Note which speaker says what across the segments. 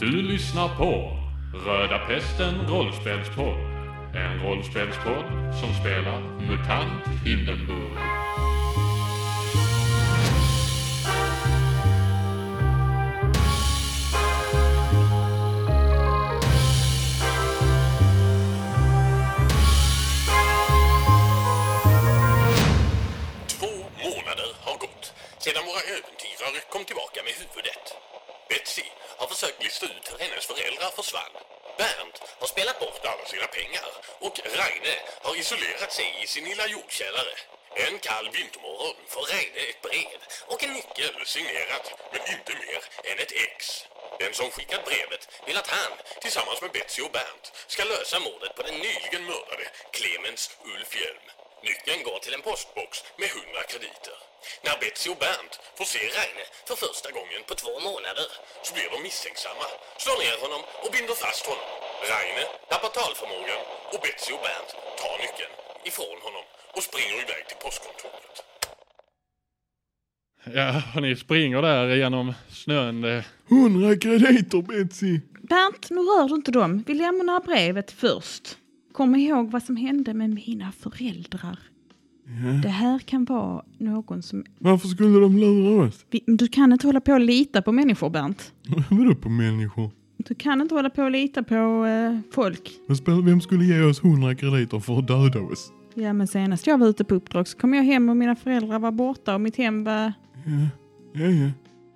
Speaker 1: Du lyssnar på Röda Pesten Rollspelspodd. En rollspelspodd som spelar MUTANT Hindenburg.
Speaker 2: Två månader har gått sedan våra äventyrare kom tillbaka med huvudet. Betsy har försökt lista ut hur hennes föräldrar försvann. Bernt har spelat bort alla sina pengar och Reine har isolerat sig i sin lilla jordkällare. En kall vintermorgon får Reine ett brev och en nyckel signerat, men inte mer än ett ex. Den som skickat brevet vill att han, tillsammans med Betsy och Bernt, ska lösa mordet på den nyligen mördade Clemens Ulf Hjelm. Nyckeln går till en postbox med 100 krediter. När Betsy och Bernt får se Reine för första gången på två månader så blir de misstänksamma, slår ner honom och binder fast honom. Reine tappar talförmågan och Betsy och Bernt tar nyckeln ifrån honom och springer iväg till postkontoret.
Speaker 1: Ja, och ni springer där genom snön. Det-
Speaker 3: Hundra krediter Betsy!
Speaker 4: Bernt, nu rör du inte dem. Vi lämnar brevet först. Kom ihåg vad som hände med mina föräldrar. Det här kan vara någon som...
Speaker 3: Varför skulle de lura oss?
Speaker 4: Vi- Du kan inte hålla på och lita på människor, Bernt.
Speaker 3: Vadå på människor?
Speaker 4: Du kan inte hålla på och lita på eh, folk.
Speaker 3: Vad spelar- Vem skulle ge oss hundra krediter för att döda oss?
Speaker 4: Ja, men senast jag var ute på uppdrag så kom jag hem och mina föräldrar var borta och mitt hem var...
Speaker 3: Ja, ja, ja.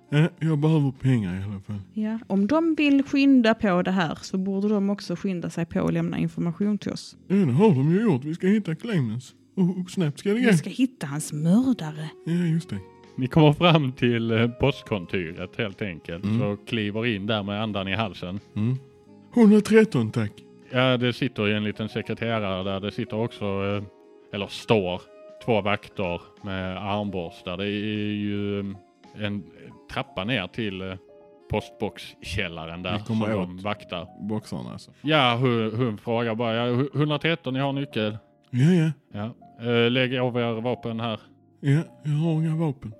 Speaker 3: ja jag behöver pengar i alla fall.
Speaker 4: Ja, om de vill skynda på det här så borde de också skynda sig på att lämna information till oss.
Speaker 3: Ja, det har de ju gjort. Vi ska hitta Clemens. Och, och snabbt ska det gå.
Speaker 4: Vi ska hitta hans mördare.
Speaker 3: Ja, just det.
Speaker 1: Ni kommer fram till eh, postkontoret helt enkelt och kliver in där med andan i halsen.
Speaker 3: 113 tack.
Speaker 1: Ja, det sitter ju en liten sekreterare där. Det sitter också, eh, eller står, två vakter med armborstar. Det är ju eh, en trappa ner till eh, postboxkällaren där
Speaker 3: Ni kommer
Speaker 1: som de
Speaker 3: åt.
Speaker 1: vaktar.
Speaker 3: Boxarna alltså.
Speaker 1: Ja, hon, hon frågar bara. Ja, hu- 113, ni har nyckel.
Speaker 3: Ja, ja.
Speaker 1: Ja. Eh, Lägg av er vapen här.
Speaker 3: Ja, jag har inga vapen.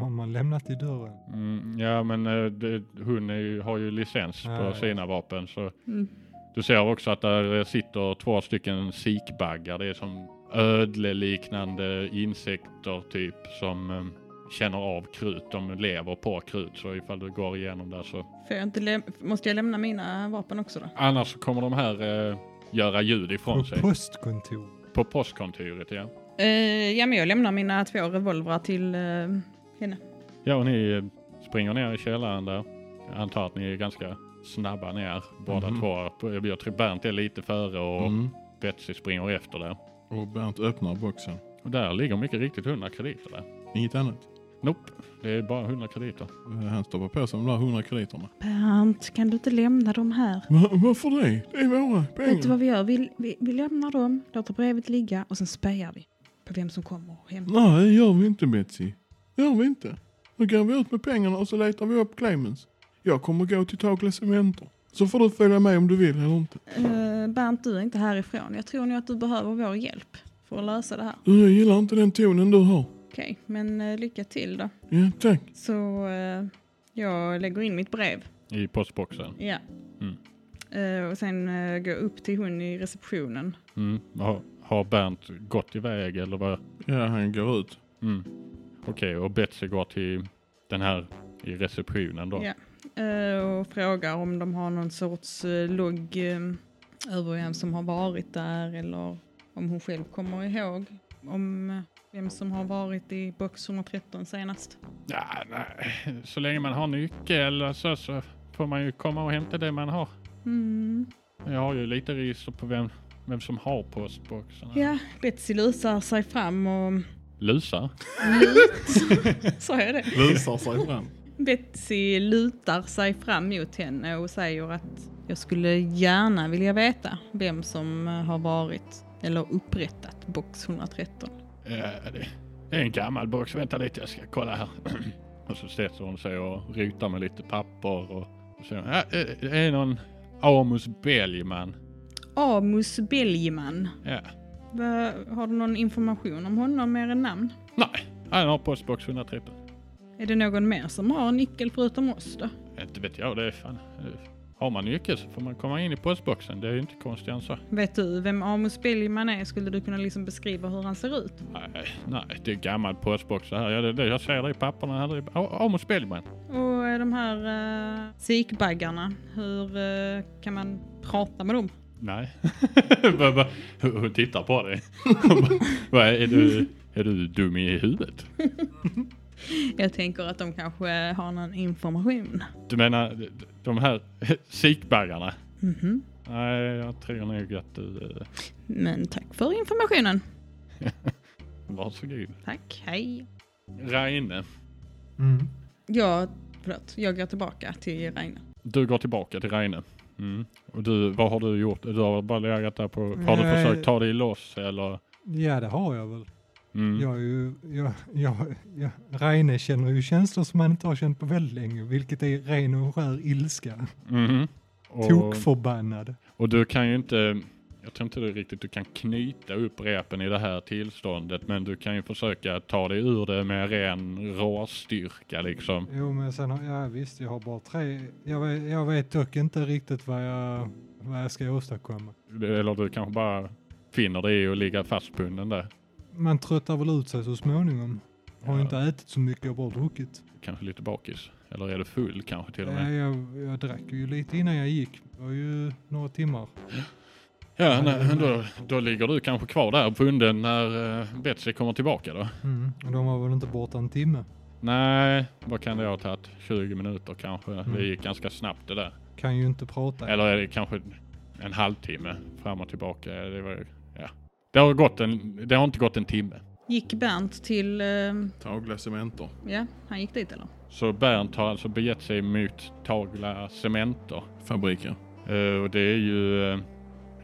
Speaker 5: Någon har lämnat i dörren.
Speaker 1: Mm, ja, men eh, det, hon är ju, har ju licens
Speaker 5: Ja,
Speaker 1: på
Speaker 5: ja.
Speaker 1: sina vapen. Så.
Speaker 4: Mm.
Speaker 1: Du ser också att där eh, sitter två stycken sikbaggar. Det är som ödleliknande insekter typ som eh, känner av krut. De lever på krut så ifall du går igenom där så.
Speaker 4: Får jag inte läm- Måste jag lämna mina vapen också då?
Speaker 1: Annars så kommer de här eh, göra ljud ifrån
Speaker 5: På
Speaker 1: sig.
Speaker 5: postkontor.
Speaker 1: På postkontoret ja.
Speaker 4: Eh, ja, men jag lämnar mina två revolvrar till eh, henne.
Speaker 1: Ja och ni eh, springer ner i källaren där. Jag antar att ni är ganska snabba ner båda
Speaker 3: Mhm.
Speaker 1: två. Jag tror Bernt är lite före och
Speaker 3: Mm.
Speaker 1: Betsy springer efter där.
Speaker 3: Och Bernt öppnar boxen.
Speaker 1: Och där ligger mycket riktigt 100 krediter där.
Speaker 3: Inget annat.
Speaker 1: Nope, det är bara 100 krediter.
Speaker 3: Eh, Han stoppar på sig de där hundra krediterna.
Speaker 4: Bernt, kan du inte lämna dem här?
Speaker 3: Va, varför det? Det är våra
Speaker 4: Vet du vad
Speaker 3: pengar.
Speaker 4: vi gör? Vi, vi, vi lämnar dem, låter brevet ligga och sen spejar vi på vem som kommer och hämtar.
Speaker 3: Nej, det gör vi inte Betsy. Gör vi inte. Nu går vi ut med pengarna och så letar vi upp Clemens. Jag kommer gå till Takla Cementer. Så får du följa med om du vill eller inte.
Speaker 4: Eh, Bernt, du är inte härifrån. Jag tror nog att du behöver vår hjälp för att lösa det här.
Speaker 3: Du, jag gillar inte den tonen du har.
Speaker 4: Okej, men eh, lycka till då.
Speaker 3: Ja, tack.
Speaker 4: Så eh, jag lägger in mitt brev.
Speaker 1: I postboxen.
Speaker 4: Ja.
Speaker 1: Mm.
Speaker 4: Eh, och sen eh, går jag upp till hon i receptionen.
Speaker 1: Mm. Har, har Bernt gått iväg eller vad?
Speaker 3: Ja, han går ut.
Speaker 1: Mm. Okej, och Betsy går till den här i receptionen då.
Speaker 4: Ja. Eh, och frågar om de har någon sorts eh, logg eh, över vem som har varit där eller om hon själv kommer ihåg om eh, vem som har varit i box 113 senast.
Speaker 1: Ja, nej. Så länge man har nyckel så, så får man ju komma och hämta det man har.
Speaker 4: Mm.
Speaker 1: Jag har ju lite register på vem, vem som har postboxen.
Speaker 4: Ja, Betsy lusar sig fram och...
Speaker 1: Lusar?
Speaker 4: Sa jag det?
Speaker 3: Visar sig fram.
Speaker 4: Betsy lutar sig fram mot henne och säger att jag skulle gärna vilja veta vem som eh, har varit eller upprättat box 113.
Speaker 1: Ja, Eh, det det är en gammal box. Vänta lite, jag ska kolla här. och så sätter hon sig och rotar med lite papper och och så. Ja, eh, det är någon Amos Bellman.
Speaker 4: Amos Belgman.
Speaker 1: Ja.
Speaker 4: Va- Har du någon information om honom mer än namn?
Speaker 1: Nej, han har postbox 113.
Speaker 4: Eh, Är det någon mer som har en nyckel förutom oss då?
Speaker 1: Eh, Inte vet jag, det är fan. eh, Har man nyckel så får man komma in i postboxen. Det är ju inte konstigt än så.
Speaker 4: Vet du vem Amos Billman är? Skulle du kunna liksom beskriva hur han ser ut?
Speaker 1: Nej, nej, det är gammal postbox det här. Jag, det- det, jag ser det i papperna här. Det är A- Amos Bellman.
Speaker 4: Och eh, de här uh, sikbaggarna, hur eh, kan man prata med dem?
Speaker 1: Nej. Bara- bara- hon hon tittar på dig. Hon bara, Vad är du? Är du dum i huvudet?
Speaker 4: Jag tänker att de kanske har någon information.
Speaker 1: Du menar de här sikbaggarna?
Speaker 4: Mhm.
Speaker 1: Nej, jag tror nog att du... eh,
Speaker 4: Men tack för informationen.
Speaker 1: Varsågod.
Speaker 4: Tack, hej.
Speaker 1: Reine,
Speaker 5: Mm.
Speaker 4: Jag, förlåt, jag går tillbaka till Reine.
Speaker 1: du går tillbaka till Reine. Mm. Och du, vad har du gjort? Du har bara legat där på... Har du
Speaker 5: Nej.
Speaker 1: försökt ta dig loss eller?
Speaker 5: Ja, det har jag väl.
Speaker 1: Mm.
Speaker 5: Jag är ju, jag, jag, jag, Reine känner ju känslor som han inte har känt på väldigt länge, vilket är ren och skär ilska.
Speaker 1: Mhm. Och,
Speaker 5: Tokförbannad.
Speaker 1: och du kan ju inte, jag tror inte du riktigt du kan knyta upp repen i det här tillståndet, men du kan ju försöka ta dig ur det med ren råstyrka liksom.
Speaker 5: Jo, men sen har, ja visst, jag har bara tre. Jag, vet- jag vet dock inte riktigt vad jag, vad jag ska åstadkomma.
Speaker 1: Eller du kanske bara finner dig i att ligga fastbunden där.
Speaker 5: Man tröttar väl ut sig så småningom. Har
Speaker 1: Ja.
Speaker 5: inte ätit så mycket, jag har bara druckit.
Speaker 1: Kanske lite bakis. Eller är du full kanske till och
Speaker 5: Ja,
Speaker 1: med?
Speaker 5: jag, jag drack ju lite innan jag gick. Det var ju några timmar.
Speaker 1: Ja, nej, då, då ligger du kanske kvar där bunden när eh, Betsy kommer tillbaka då.
Speaker 5: Mm. och De var väl inte borta en timme.
Speaker 1: Nej, vad kan det ha tagit? 20 minuter kanske. Det
Speaker 5: Mm.
Speaker 1: gick ganska snabbt det där.
Speaker 5: Kan ju inte prata.
Speaker 1: Eller är det kanske en halvtimme fram och tillbaka? Det, var, ja. det, har, gått en, det har inte gått en timme.
Speaker 4: Gick Bernt till, eh,
Speaker 3: Tagla cementer.
Speaker 4: ja, han gick dit eller?
Speaker 1: Så Bernt har alltså begett sig mot Tagla Cementer.
Speaker 3: Fabriker.
Speaker 1: Eh, och det är ju eh,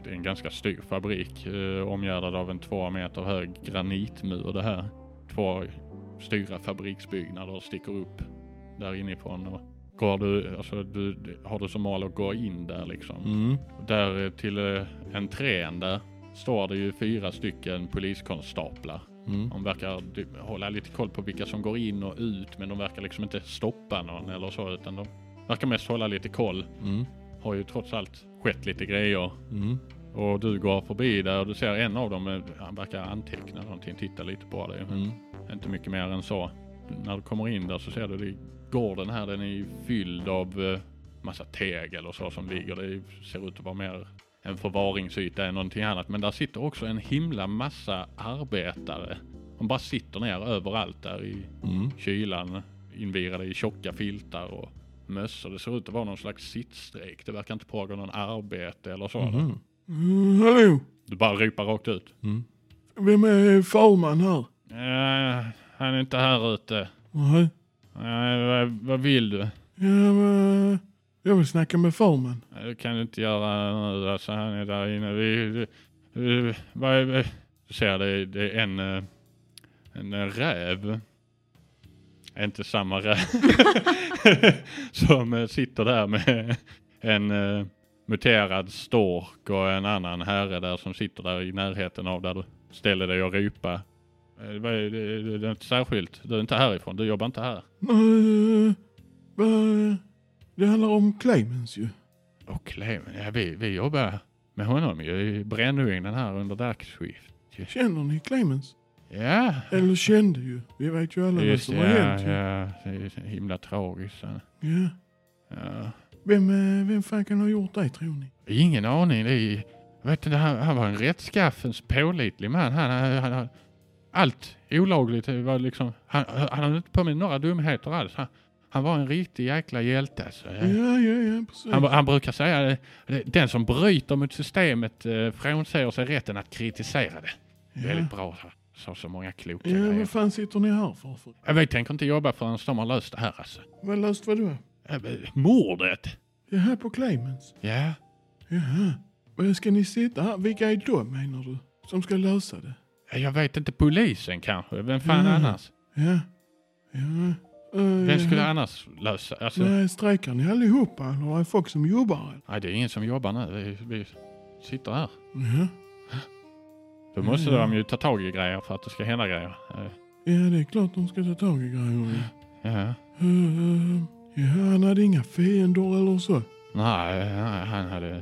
Speaker 1: det är en ganska stor fabrik eh, omgärdad av en två meter hög granitmur det här. Två stora fabriksbyggnader sticker upp där inifrån. Och går du, alltså, du, har du som mål att gå in där liksom?
Speaker 3: Mm.
Speaker 1: Där eh, till eh, entrén där står det ju fyra stycken poliskonstaplar.
Speaker 3: Mm.
Speaker 1: De verkar d- hålla lite koll på vilka som går in och ut men de verkar liksom inte stoppa någon eller så utan de verkar mest hålla lite koll.
Speaker 3: Mm.
Speaker 1: Har ju trots allt skett lite grejer.
Speaker 3: Mm.
Speaker 1: Och du går förbi där och du ser en av dem, eh, han verkar anteckna någonting, titta lite på dig. Men
Speaker 3: Mm.
Speaker 1: Inte mycket mer än så. När du kommer in där så ser du det, gården här den är ju fylld av eh, massa tegel och så som ligger. Det ser ut att vara mer en förvaringsyta än någonting annat. Men där sitter också en himla massa arbetare. De bara sitter ner överallt där i
Speaker 3: Mm.
Speaker 1: kylan invirade i tjocka filtar och mössor. Det ser ut att vara någon slags sittstrejk. Det verkar inte pågå någon arbete eller så.
Speaker 3: Mhm. Mm, hallå?
Speaker 1: Du bara ropar rakt ut.
Speaker 3: Mm. Vem är farman här?
Speaker 1: Eh, han är inte här ute.
Speaker 3: Nej.
Speaker 1: Eh, vad, vad vill du?
Speaker 3: Ja, men, jag vill snacka med farman.
Speaker 1: Nej, Det Eh, kan du inte göra nu. Alltså, han är där inne. Vi, vi- vi, vad är, vad- du ser, det, det är en, eh, en räv. Inte samma räv. som eh, sitter där med en eh, muterad stork och en annan herre där som sitter där i närheten av där du ställer dig och rypa. Eh, vad är- Det det- det är inte särskilt. Du är inte härifrån. Du jobbar inte här.
Speaker 3: Nej, vad- det handlar om Clemens ju.
Speaker 1: Okej, men ja, vi, vi jobbar med honom ju i brännugnen här under dagsskift.
Speaker 3: Känner ni Clemens?
Speaker 1: Ja,
Speaker 3: Eller kände ju. Vi vet ju alla vad
Speaker 1: just
Speaker 3: som
Speaker 1: det.
Speaker 3: har
Speaker 1: Ja,
Speaker 3: hänt ju.
Speaker 1: ja, det är ju så himla tragiskt. Ja.
Speaker 3: Ja.
Speaker 1: Ja.
Speaker 3: Vem, eh, vem fan kan ha gjort det tror ni?
Speaker 1: Ingen aning. Det är, vet du, han, han var en rättskaffens pålitlig man. Han, han, han, han, allt olagligt det var liksom... Han, han höll inte på med några dumheter alls. Han, han var en riktig jäkla hjälte. Alltså.
Speaker 3: Ja, ja, ja, precis.
Speaker 1: Han, han brukar säga det, det- den som bryter mot systemet eh, frånsäger sig rätten att kritisera det.
Speaker 3: ja.
Speaker 1: Väldigt bra. sa- Sa så många kloka
Speaker 3: ja,
Speaker 1: grejer.
Speaker 3: vad fan sitter ni här för? för?
Speaker 1: Ja, vi tänker inte jobba förrän de har löst det här alltså.
Speaker 3: Vad löst var det?
Speaker 1: Ja, men Mordet!
Speaker 3: Jaha, på Clemens.
Speaker 1: Ja.
Speaker 3: Jaha. Vad Ska ni sitta här? Vilka är de menar du? Som ska lösa det?
Speaker 1: Ja, Jag vet inte, polisen kanske? Vem fan
Speaker 3: Mm.
Speaker 1: annars?
Speaker 3: Ja. Ja. Uh,
Speaker 1: Vem skulle annars lösa? Alltså,
Speaker 3: Nej, strejkar ni allihopa? Eller är det folk som jobbar? eller?
Speaker 1: nej, det är ingen som jobbar nu. Vi, vi sitter här.
Speaker 3: Ja.
Speaker 1: Då måste
Speaker 3: Mm.
Speaker 1: de ju ta tag i grejer för att det ska hända grejer. Eh,
Speaker 3: ja, det är klart de ska ta tag i grejerna.
Speaker 1: Ja.
Speaker 3: Eh, ja, han hade inga fiender eller så.
Speaker 1: Nej, nej, han hade,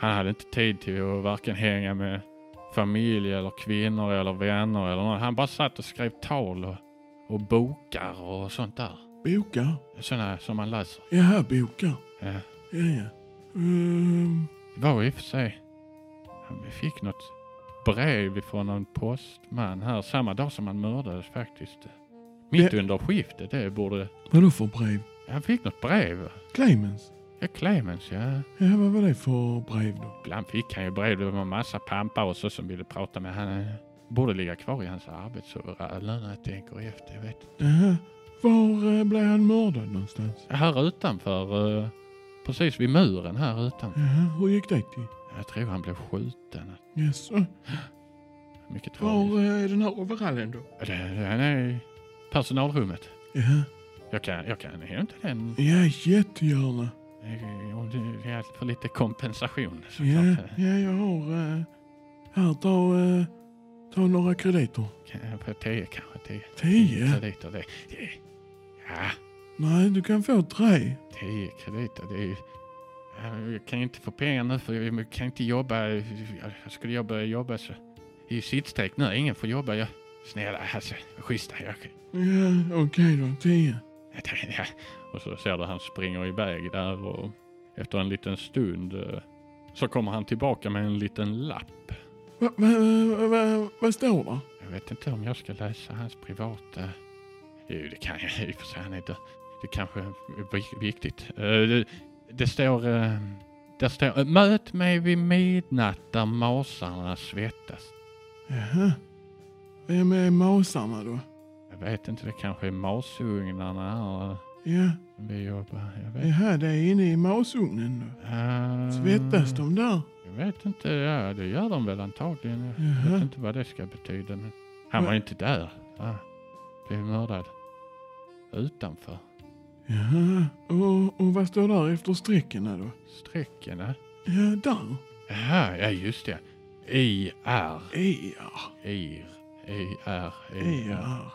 Speaker 1: han hade inte tid till att varken hänga med familj eller kvinnor eller vänner eller något. Han bara satt och skrev tal och, och bokar och sånt där.
Speaker 3: Bokar?
Speaker 1: Sådana som man läser.
Speaker 3: Jaha, bokar.
Speaker 1: Ja.
Speaker 3: Ja, ja. Ehm,
Speaker 1: Det var i och för sig. Vi fick något brev från en postman här samma dag som han mördades faktiskt. Mitt
Speaker 3: Ja.
Speaker 1: under skiftet, det borde...
Speaker 3: vadå för brev?
Speaker 1: Han fick något brev.
Speaker 3: Clemens?
Speaker 1: Ja, Clemens ja.
Speaker 3: Ja, vad var det för brev då?
Speaker 1: Ibland fick han ju brev. Det var en massa pampar och så som ville prata med honom. Borde ligga kvar i hans arbetsöverall nu när jag tänker efter. Jag vet.
Speaker 3: Jaha. Var eh, blev han mördad någonstans?
Speaker 1: Här utanför, eh, precis vid muren här utanför.
Speaker 3: Jaha, hur gick det till?
Speaker 1: Jag tror han blev skjuten.
Speaker 3: Yes. eh,
Speaker 1: Mycket tragiskt.
Speaker 3: Var eh, är den här overallen då?
Speaker 1: Det- det- Han är i personalrummet.
Speaker 3: Jaha.
Speaker 1: Jag kan, jag kan hämta den
Speaker 3: Ja, jättegärna.
Speaker 1: Eh, Om det det är för lite kompensation
Speaker 3: Ja,
Speaker 1: såklart.
Speaker 3: ja, jag har... eh, Här, ta, eh, ta några krediter.
Speaker 1: Yeah. På tio kanske, tio
Speaker 3: Tio?
Speaker 1: krediter. Det, det, ja,
Speaker 3: Nej, du kan få tre.
Speaker 1: tio krediter. Det är ju... Ja, Jag kan ju inte få pengar nu för jag kan inte jobba. Jag skulle jobba, jobba så... I sittstrejk nu, ingen får jobba. Jag, snälla, alltså, schyssta. Jag,
Speaker 3: Ja, okej då. Tio.
Speaker 1: Ja. Och så ser du han springer iväg där och efter en liten stund eh, så kommer han tillbaka med en liten lapp.
Speaker 3: Va- va- va- va- Vad står där?
Speaker 1: Jag vet inte om jag ska läsa hans privata... Jo, det kan jag i och för sig. Han är död. Det kanske är vi- viktigt. Eh, Det, det står... eh, Där står... eh, Möt mig vid midnatt där masarna svettas.
Speaker 3: Jaha. Vem är masarna då?
Speaker 1: Jag vet inte, det kanske är masugnarna här eh,
Speaker 3: Ja,
Speaker 1: som vi jobbar. Jag vet.
Speaker 3: jaha, det är inne i masugnen då.
Speaker 1: Eh,
Speaker 3: Svettas de där?
Speaker 1: Jag vet inte. Ja, det gör de väl antagligen. Jag vet
Speaker 3: Jaha.
Speaker 1: inte vad det ska betyda. Men han var
Speaker 3: Men-
Speaker 1: ju inte där. Ah, blev mördad. Utanför.
Speaker 3: Jaha. Och, och vad står där efter strecken då?
Speaker 1: Strecken, eh?
Speaker 3: Ja, där.
Speaker 1: Jaha, ja just det. IR,
Speaker 3: ER.
Speaker 1: IR, IR, IR.
Speaker 3: ER.
Speaker 1: Ja.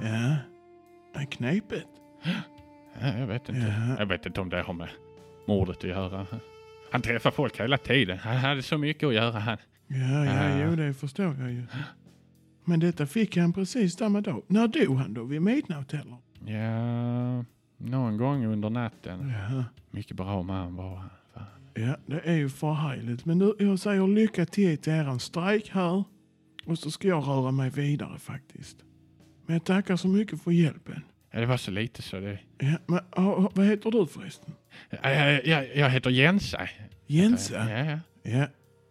Speaker 3: Ja. Är knepigt.
Speaker 1: Ja, jag vet inte.
Speaker 3: Ja.
Speaker 1: Jag vet inte om det har med mordet att göra. Han träffar folk hela tiden. Han hade så mycket att göra han.
Speaker 3: Ja, ja,
Speaker 1: Ja.
Speaker 3: jo, det förstår jag ju. Men detta fick han precis samma dag. När dog han då? Vid midnatt eller?
Speaker 1: Ja, någon gång under natten.
Speaker 3: Jaha.
Speaker 1: Mycket bra man var han. Fan.
Speaker 3: Ja, det är ju förhärligt. Men nu, jag säger lycka till till eran strejk här. Och så ska jag röra mig vidare faktiskt. Men jag tackar så mycket för hjälpen.
Speaker 1: Ja, det var så lite så det...
Speaker 3: Ja, men ah, ah, vad heter du förresten?
Speaker 1: Ja, ja, ja, jag heter Jensa.
Speaker 3: Jensa?
Speaker 1: Ja, ja.
Speaker 3: Ja.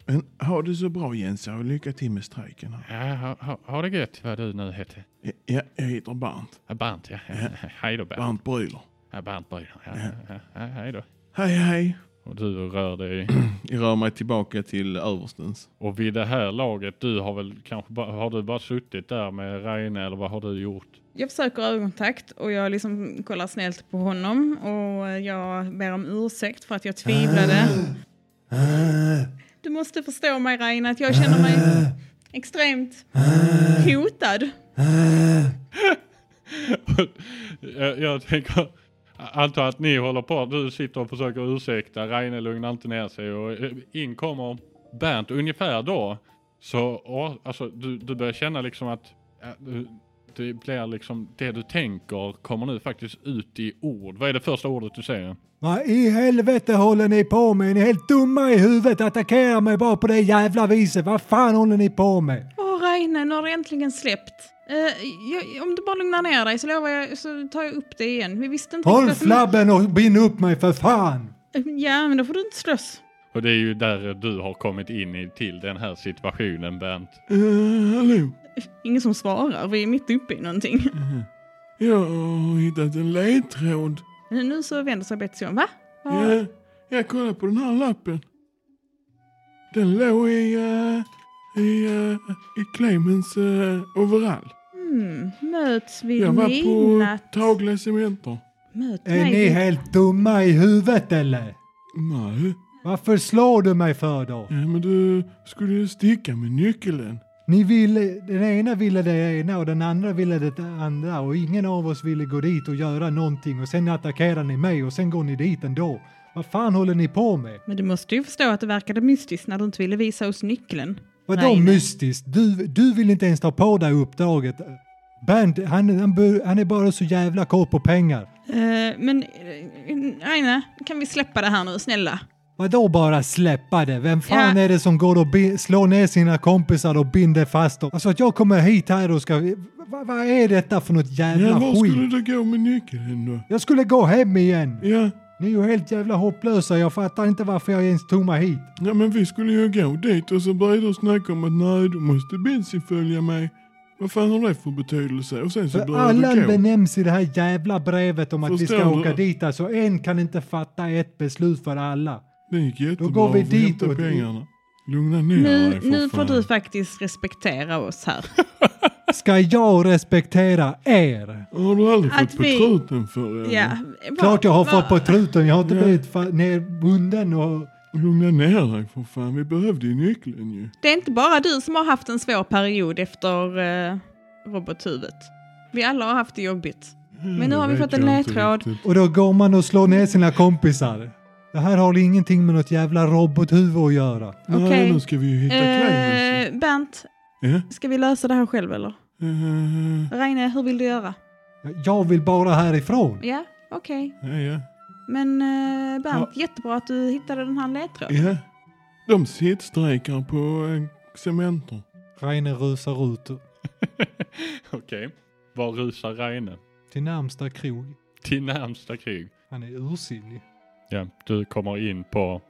Speaker 3: Men ha det så bra Jensa och lycka till med strejken här.
Speaker 1: ja ha, ha, ha det gött vad du nu heter.
Speaker 3: Ja, Ja, jag heter Bernt.
Speaker 1: Ja, Bernt, ja. ja. Hej då Bernt.
Speaker 3: Bernt Brüler.
Speaker 1: Ja, Bernt Bryn. Ja, ja, ja, hej då.
Speaker 3: Hej hej.
Speaker 1: Och du rör dig
Speaker 3: Jag rör mig tillbaka till överstens.
Speaker 1: Och vid det här laget, du har väl kanske bara, har du bara suttit där med Reine eller vad har du gjort?
Speaker 4: Jag försöker ögonkontakt och jag liksom kollar snällt på honom och jag ber om ursäkt för att jag tvivlade. Du måste förstå mig Reine, att jag känner mig extremt hotad.
Speaker 1: jag, jag tänker, antar att ni håller på, du sitter och försöker ursäkta, Reine lugnar inte ner sig och eh, in kommer Bernt ungefär då. Så och, alltså, du, du börjar känna liksom att eh, du- det blir liksom det du tänker kommer nu faktiskt ut i ord. Vad är det första ordet du säger?
Speaker 5: Vad i helvete håller ni på med? Ni är helt dumma i huvudet. Attackera mig bara på det jävla viset. Vad fan håller ni på med?
Speaker 4: Åh Reine, nu har det äntligen släppt. Eh, jag, om du bara lugnar ner dig så lovar jag så tar jag upp det igen. Vi visste inte...
Speaker 5: Håll
Speaker 4: vad som- Eh,
Speaker 5: flabben och bind upp mig för fan!
Speaker 4: Ja, men då får du inte slåss.
Speaker 1: Och det är ju där du har kommit in i, till den här situationen Bernt.
Speaker 3: Uh, hallå?
Speaker 4: Ingen som svarar, vi är mitt uppe i någonting.
Speaker 3: Jag har hittat en ledtråd.
Speaker 4: Nu- Eh, Nu så vänder sig Betsy om. Va?
Speaker 3: Mm. Ja.
Speaker 4: Ja.
Speaker 3: jag kollar på den här lappen. Den låg i, eh, i, eh, i Clemens eh, overall.
Speaker 4: Mm, möts vid
Speaker 3: Jag var på
Speaker 4: midnatt.
Speaker 3: Tagla Cementer.
Speaker 4: Möt
Speaker 5: Är ni
Speaker 4: mig.
Speaker 5: helt dumma i huvudet eller?
Speaker 3: Nej,
Speaker 5: Varför slår du mig för då?
Speaker 3: ja, men du skulle ju sticka med nyckeln.
Speaker 5: Ni ville, den ena ville det ena och den andra ville det andra och ingen av oss ville gå dit och göra någonting och sen attackerar ni mig och sen går ni dit ändå. Vad fan håller ni på med?
Speaker 4: Men du måste ju förstå att det verkade mystiskt när du inte ville visa oss nyckeln.
Speaker 5: Vadå
Speaker 4: Nej, nej.
Speaker 5: mystiskt? Du, du vill inte ens ta på dig uppdraget. Bernt, han, han, bör- han är bara så jävla kort på pengar.
Speaker 4: Eh, men eh, Aina, kan vi släppa det här nu snälla?
Speaker 5: Vadå bara släppa det? Vem fan
Speaker 4: Ja.
Speaker 5: är det som går och bi- slår ner sina kompisar och binder fast dem? Alltså att jag kommer hit här och ska... Va- Vad är detta för något jävla
Speaker 3: Ja, var
Speaker 5: skit?
Speaker 3: skulle du gå med nyckeln då?
Speaker 5: Jag skulle gå hem igen.
Speaker 3: Ja,
Speaker 5: Ni är ju helt jävla hopplösa. Jag fattar inte varför jag ens tog mig hit.
Speaker 3: ja, men vi skulle ju gå dit och så började du snacka om att nej, då måste Betsy följa mig. Vad fan har det för betydelse? Och sen så
Speaker 5: För
Speaker 3: började
Speaker 5: alla
Speaker 3: du gå.
Speaker 5: benämns i det här jävla brevet om att vi ska
Speaker 3: Förstår du?
Speaker 5: åka dit. Alltså en kan inte fatta ett beslut för alla.
Speaker 3: Det gick jättebra.
Speaker 5: Då går vi dit
Speaker 3: och
Speaker 5: och-
Speaker 3: pengarna. Lugna ner
Speaker 4: nu
Speaker 3: dig för
Speaker 4: nu får
Speaker 3: fan.
Speaker 4: du faktiskt respektera oss här.
Speaker 5: Ska jag respektera er?
Speaker 3: Har du aldrig
Speaker 4: Att
Speaker 3: fått
Speaker 4: vi-
Speaker 3: på truten för eller?
Speaker 4: ja,
Speaker 5: Klart jag har
Speaker 4: vad-
Speaker 5: fått på truten. Jag har inte blivit fa- nerbunden och...
Speaker 3: Lugna ner dig för fan. Vi behövde ju nyckeln ju.
Speaker 4: Det är inte bara du som har haft en svår period efter eh, robothuvudet. Vi alla har haft det jobbigt. Men nu har vi
Speaker 3: Mm, Det
Speaker 4: fått
Speaker 3: vet
Speaker 4: en
Speaker 3: jag inte
Speaker 4: ledtråd.
Speaker 3: riktigt.
Speaker 5: Och då går man och slår ner sina kompisar. Det här har ingenting med något jävla robothuvud att göra.
Speaker 4: Okej.
Speaker 3: Nej, nu ska vi ju hitta Clemens.
Speaker 4: Eh, Bernt,
Speaker 3: Ja.
Speaker 4: ska vi lösa det här själv eller?
Speaker 3: Eh,
Speaker 4: Reine, hur vill du göra?
Speaker 5: Jag vill bara härifrån.
Speaker 4: Ja, okej.
Speaker 3: Ja, ja.
Speaker 4: Men eh, Bernt, jättebra att du hittade den här ledtråden.
Speaker 3: Ja. De sittstrejkar på eh, Cementer.
Speaker 5: Reine rusar ut
Speaker 1: Okej. Var rusar Reine?
Speaker 5: till närmsta krog.
Speaker 1: Till närmsta krig.
Speaker 5: Han är ursinnig.
Speaker 1: Ja, du kommer in på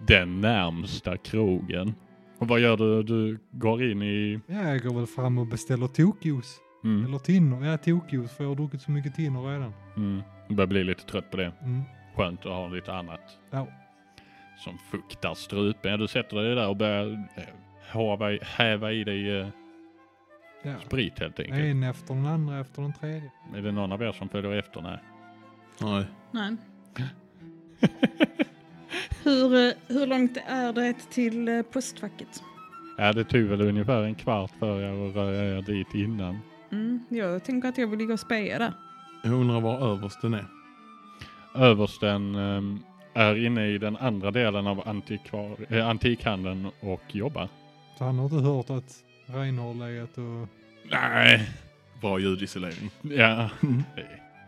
Speaker 1: den närmsta krogen. Och vad gör du? Du går in i...
Speaker 5: Ja, jag går väl fram och beställer tokjuice.
Speaker 1: Mm,
Speaker 5: Eller tinnor. Ja, tokjuice för jag har druckit så mycket tinnor redan.
Speaker 1: mm. Du börjar bli lite trött på det.
Speaker 5: Mm.
Speaker 1: Skönt att ha lite annat
Speaker 5: Ja.
Speaker 1: som fuktar strupen. Ja, du sätter dig där och börjar eh, hava i, häva i dig eh,
Speaker 5: ja.
Speaker 1: sprit helt enkelt.
Speaker 5: En efter den andra efter den tredje.
Speaker 1: Är det någon av er som följer efter? Nej.
Speaker 3: Nej.
Speaker 4: Nej. hur, eh, hur långt är det till eh, postfacket?
Speaker 1: Ja, det tog väl ungefär en kvart för er att röra er dit innan.
Speaker 4: Mm, jag tänker att jag vill ligga och speja där.
Speaker 3: Jag undrar var översten är.
Speaker 1: Översten ehm, är inne i den andra delen av antikvar- eh, antikhandeln och jobbar.
Speaker 5: Så han har inte hört att Reine har legat och...
Speaker 1: Nej.
Speaker 3: Bra ljudisolering.
Speaker 1: Ja.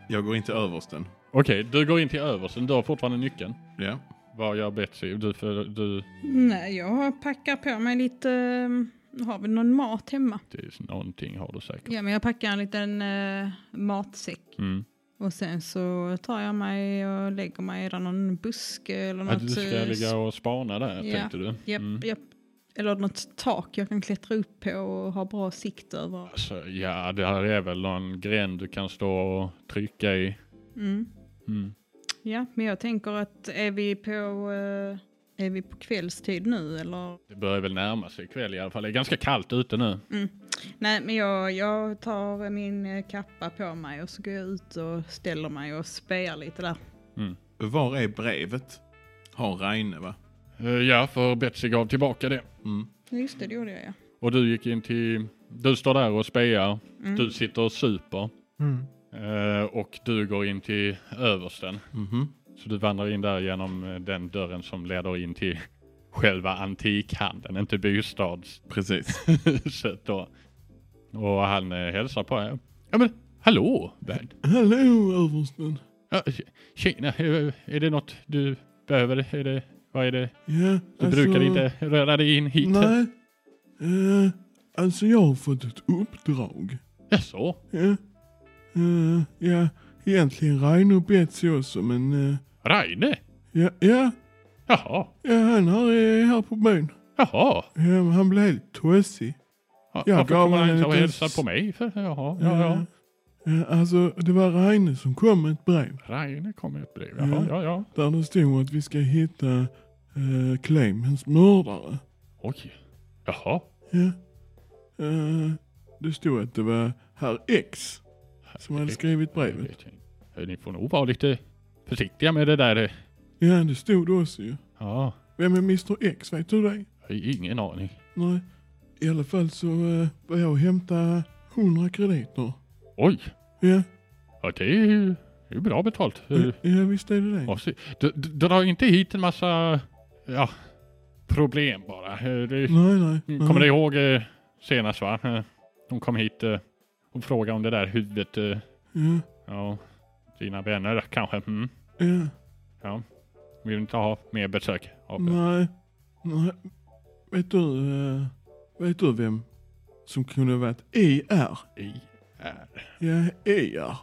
Speaker 3: Jag går inte översten.
Speaker 1: Okej, du går in till översten. Du har fortfarande nyckeln.
Speaker 3: Ja.
Speaker 1: Vad gör Betsy? Du, för, du,
Speaker 4: Nej, jag packar på mig lite... eh, Har vi någon mat hemma?
Speaker 1: det är någonting har du säkert.
Speaker 4: Ja, men jag packar en liten eh, matsäck.
Speaker 1: Mm.
Speaker 4: Och sen så tar jag mig och lägger mig i någon buske eller något.
Speaker 1: Att du ska
Speaker 4: eh,
Speaker 1: ligga och spana där
Speaker 4: Ja.
Speaker 1: tänkte du?
Speaker 4: Japp,
Speaker 1: Mm.
Speaker 4: japp. Eller något tak jag kan klättra upp på och ha bra sikt över.
Speaker 1: Alltså, ja, det här är väl någon gren du kan stå och trycka i.
Speaker 4: Mm.
Speaker 1: Mm.
Speaker 4: Ja, men jag tänker att är vi på, eh, är vi på kvällstid nu eller?
Speaker 1: Det börjar väl närma sig ikväll i alla fall. Det är ganska kallt ute nu.
Speaker 4: Nej, men jag, jag tar min eh, kappa på mig och så går jag ut och ställer mig och spejar lite där.
Speaker 6: Var är brevet? Har Reine va?
Speaker 1: Eh, Ja, för Betsy gav tillbaka det.
Speaker 3: Mm,
Speaker 4: Ja, Just det, det gjorde jag ja.
Speaker 1: Och du gick in till... Du står där och spejar.
Speaker 4: Mm.
Speaker 1: Du sitter och super.
Speaker 5: Mm.
Speaker 1: Eh, Och du går in till översten.
Speaker 3: mhm.
Speaker 1: Så du vandrar in där genom eh, den dörren som leder in till själva antikhandeln, inte bostads
Speaker 6: Precis.
Speaker 1: huset då. Och han eh, hälsar på er. Ja men hallå värd.
Speaker 3: Hallå översten.
Speaker 1: Ja, tjena, eh, är det något du behöver? Är det, vad är det?
Speaker 3: Ja,
Speaker 1: Du brukar inte röra dig in hit.
Speaker 3: Nej. Eh, alltså jag har fått ett uppdrag.
Speaker 1: Jaså?
Speaker 3: Ja. Eh, ja, egentligen Reino och Betsy också men... eh,
Speaker 1: Reine?
Speaker 3: ja, ja,
Speaker 1: Jaha,
Speaker 3: ja, han här är här på byn.
Speaker 1: jaha.
Speaker 3: Ja, men han blev helt tossig.
Speaker 1: Ja,
Speaker 3: Ja,
Speaker 1: Varför
Speaker 3: gav
Speaker 1: kommer han
Speaker 3: han en
Speaker 1: inte och
Speaker 3: liten
Speaker 1: hälsar
Speaker 3: s-
Speaker 1: på mig? För, jaha, ja, ja.
Speaker 3: Eh, Alltså, det var Reine som kom med ett brev.
Speaker 1: Reine kom med ett brev. Jaha, ja, ja.
Speaker 3: Där det stod att vi ska hitta eh, Clemens mördare.
Speaker 1: Oj. Jaha.
Speaker 3: Ja. Eh, det stod att det var herr X som hade skrivit
Speaker 1: Jag
Speaker 3: brevet.
Speaker 1: vet inte. Ni får nog vara lite försiktiga med det där. eh.
Speaker 3: Ja, det stod det också ju.
Speaker 1: Ja,
Speaker 3: Vem är Mr X? Vet du det?
Speaker 1: jag har ingen aning.
Speaker 3: Nej. I alla fall så eh, var jag och hämtade 100 krediter.
Speaker 1: Oj,
Speaker 3: Ja,
Speaker 1: ja, det är ju det är ju bra betalt. Eh,
Speaker 3: ja visst är det det.
Speaker 1: och se- d- d- Dra inte hit en massa ja, problem bara. Eh, Det,
Speaker 3: Nej, nej. nej.
Speaker 1: Kommer du ihåg eh, senast va? Eh, De kom hit eh, och frågade om det där huvudet. eh,
Speaker 3: Ja,
Speaker 1: Ja, dina vänner kanske. Mm.
Speaker 3: ja.
Speaker 1: Ja. Vill inte ha mer besök av det.
Speaker 3: Nej. nej. Vet du, eh, vet du vem som kunde varit ER?
Speaker 1: I är.
Speaker 3: Ja, E ER.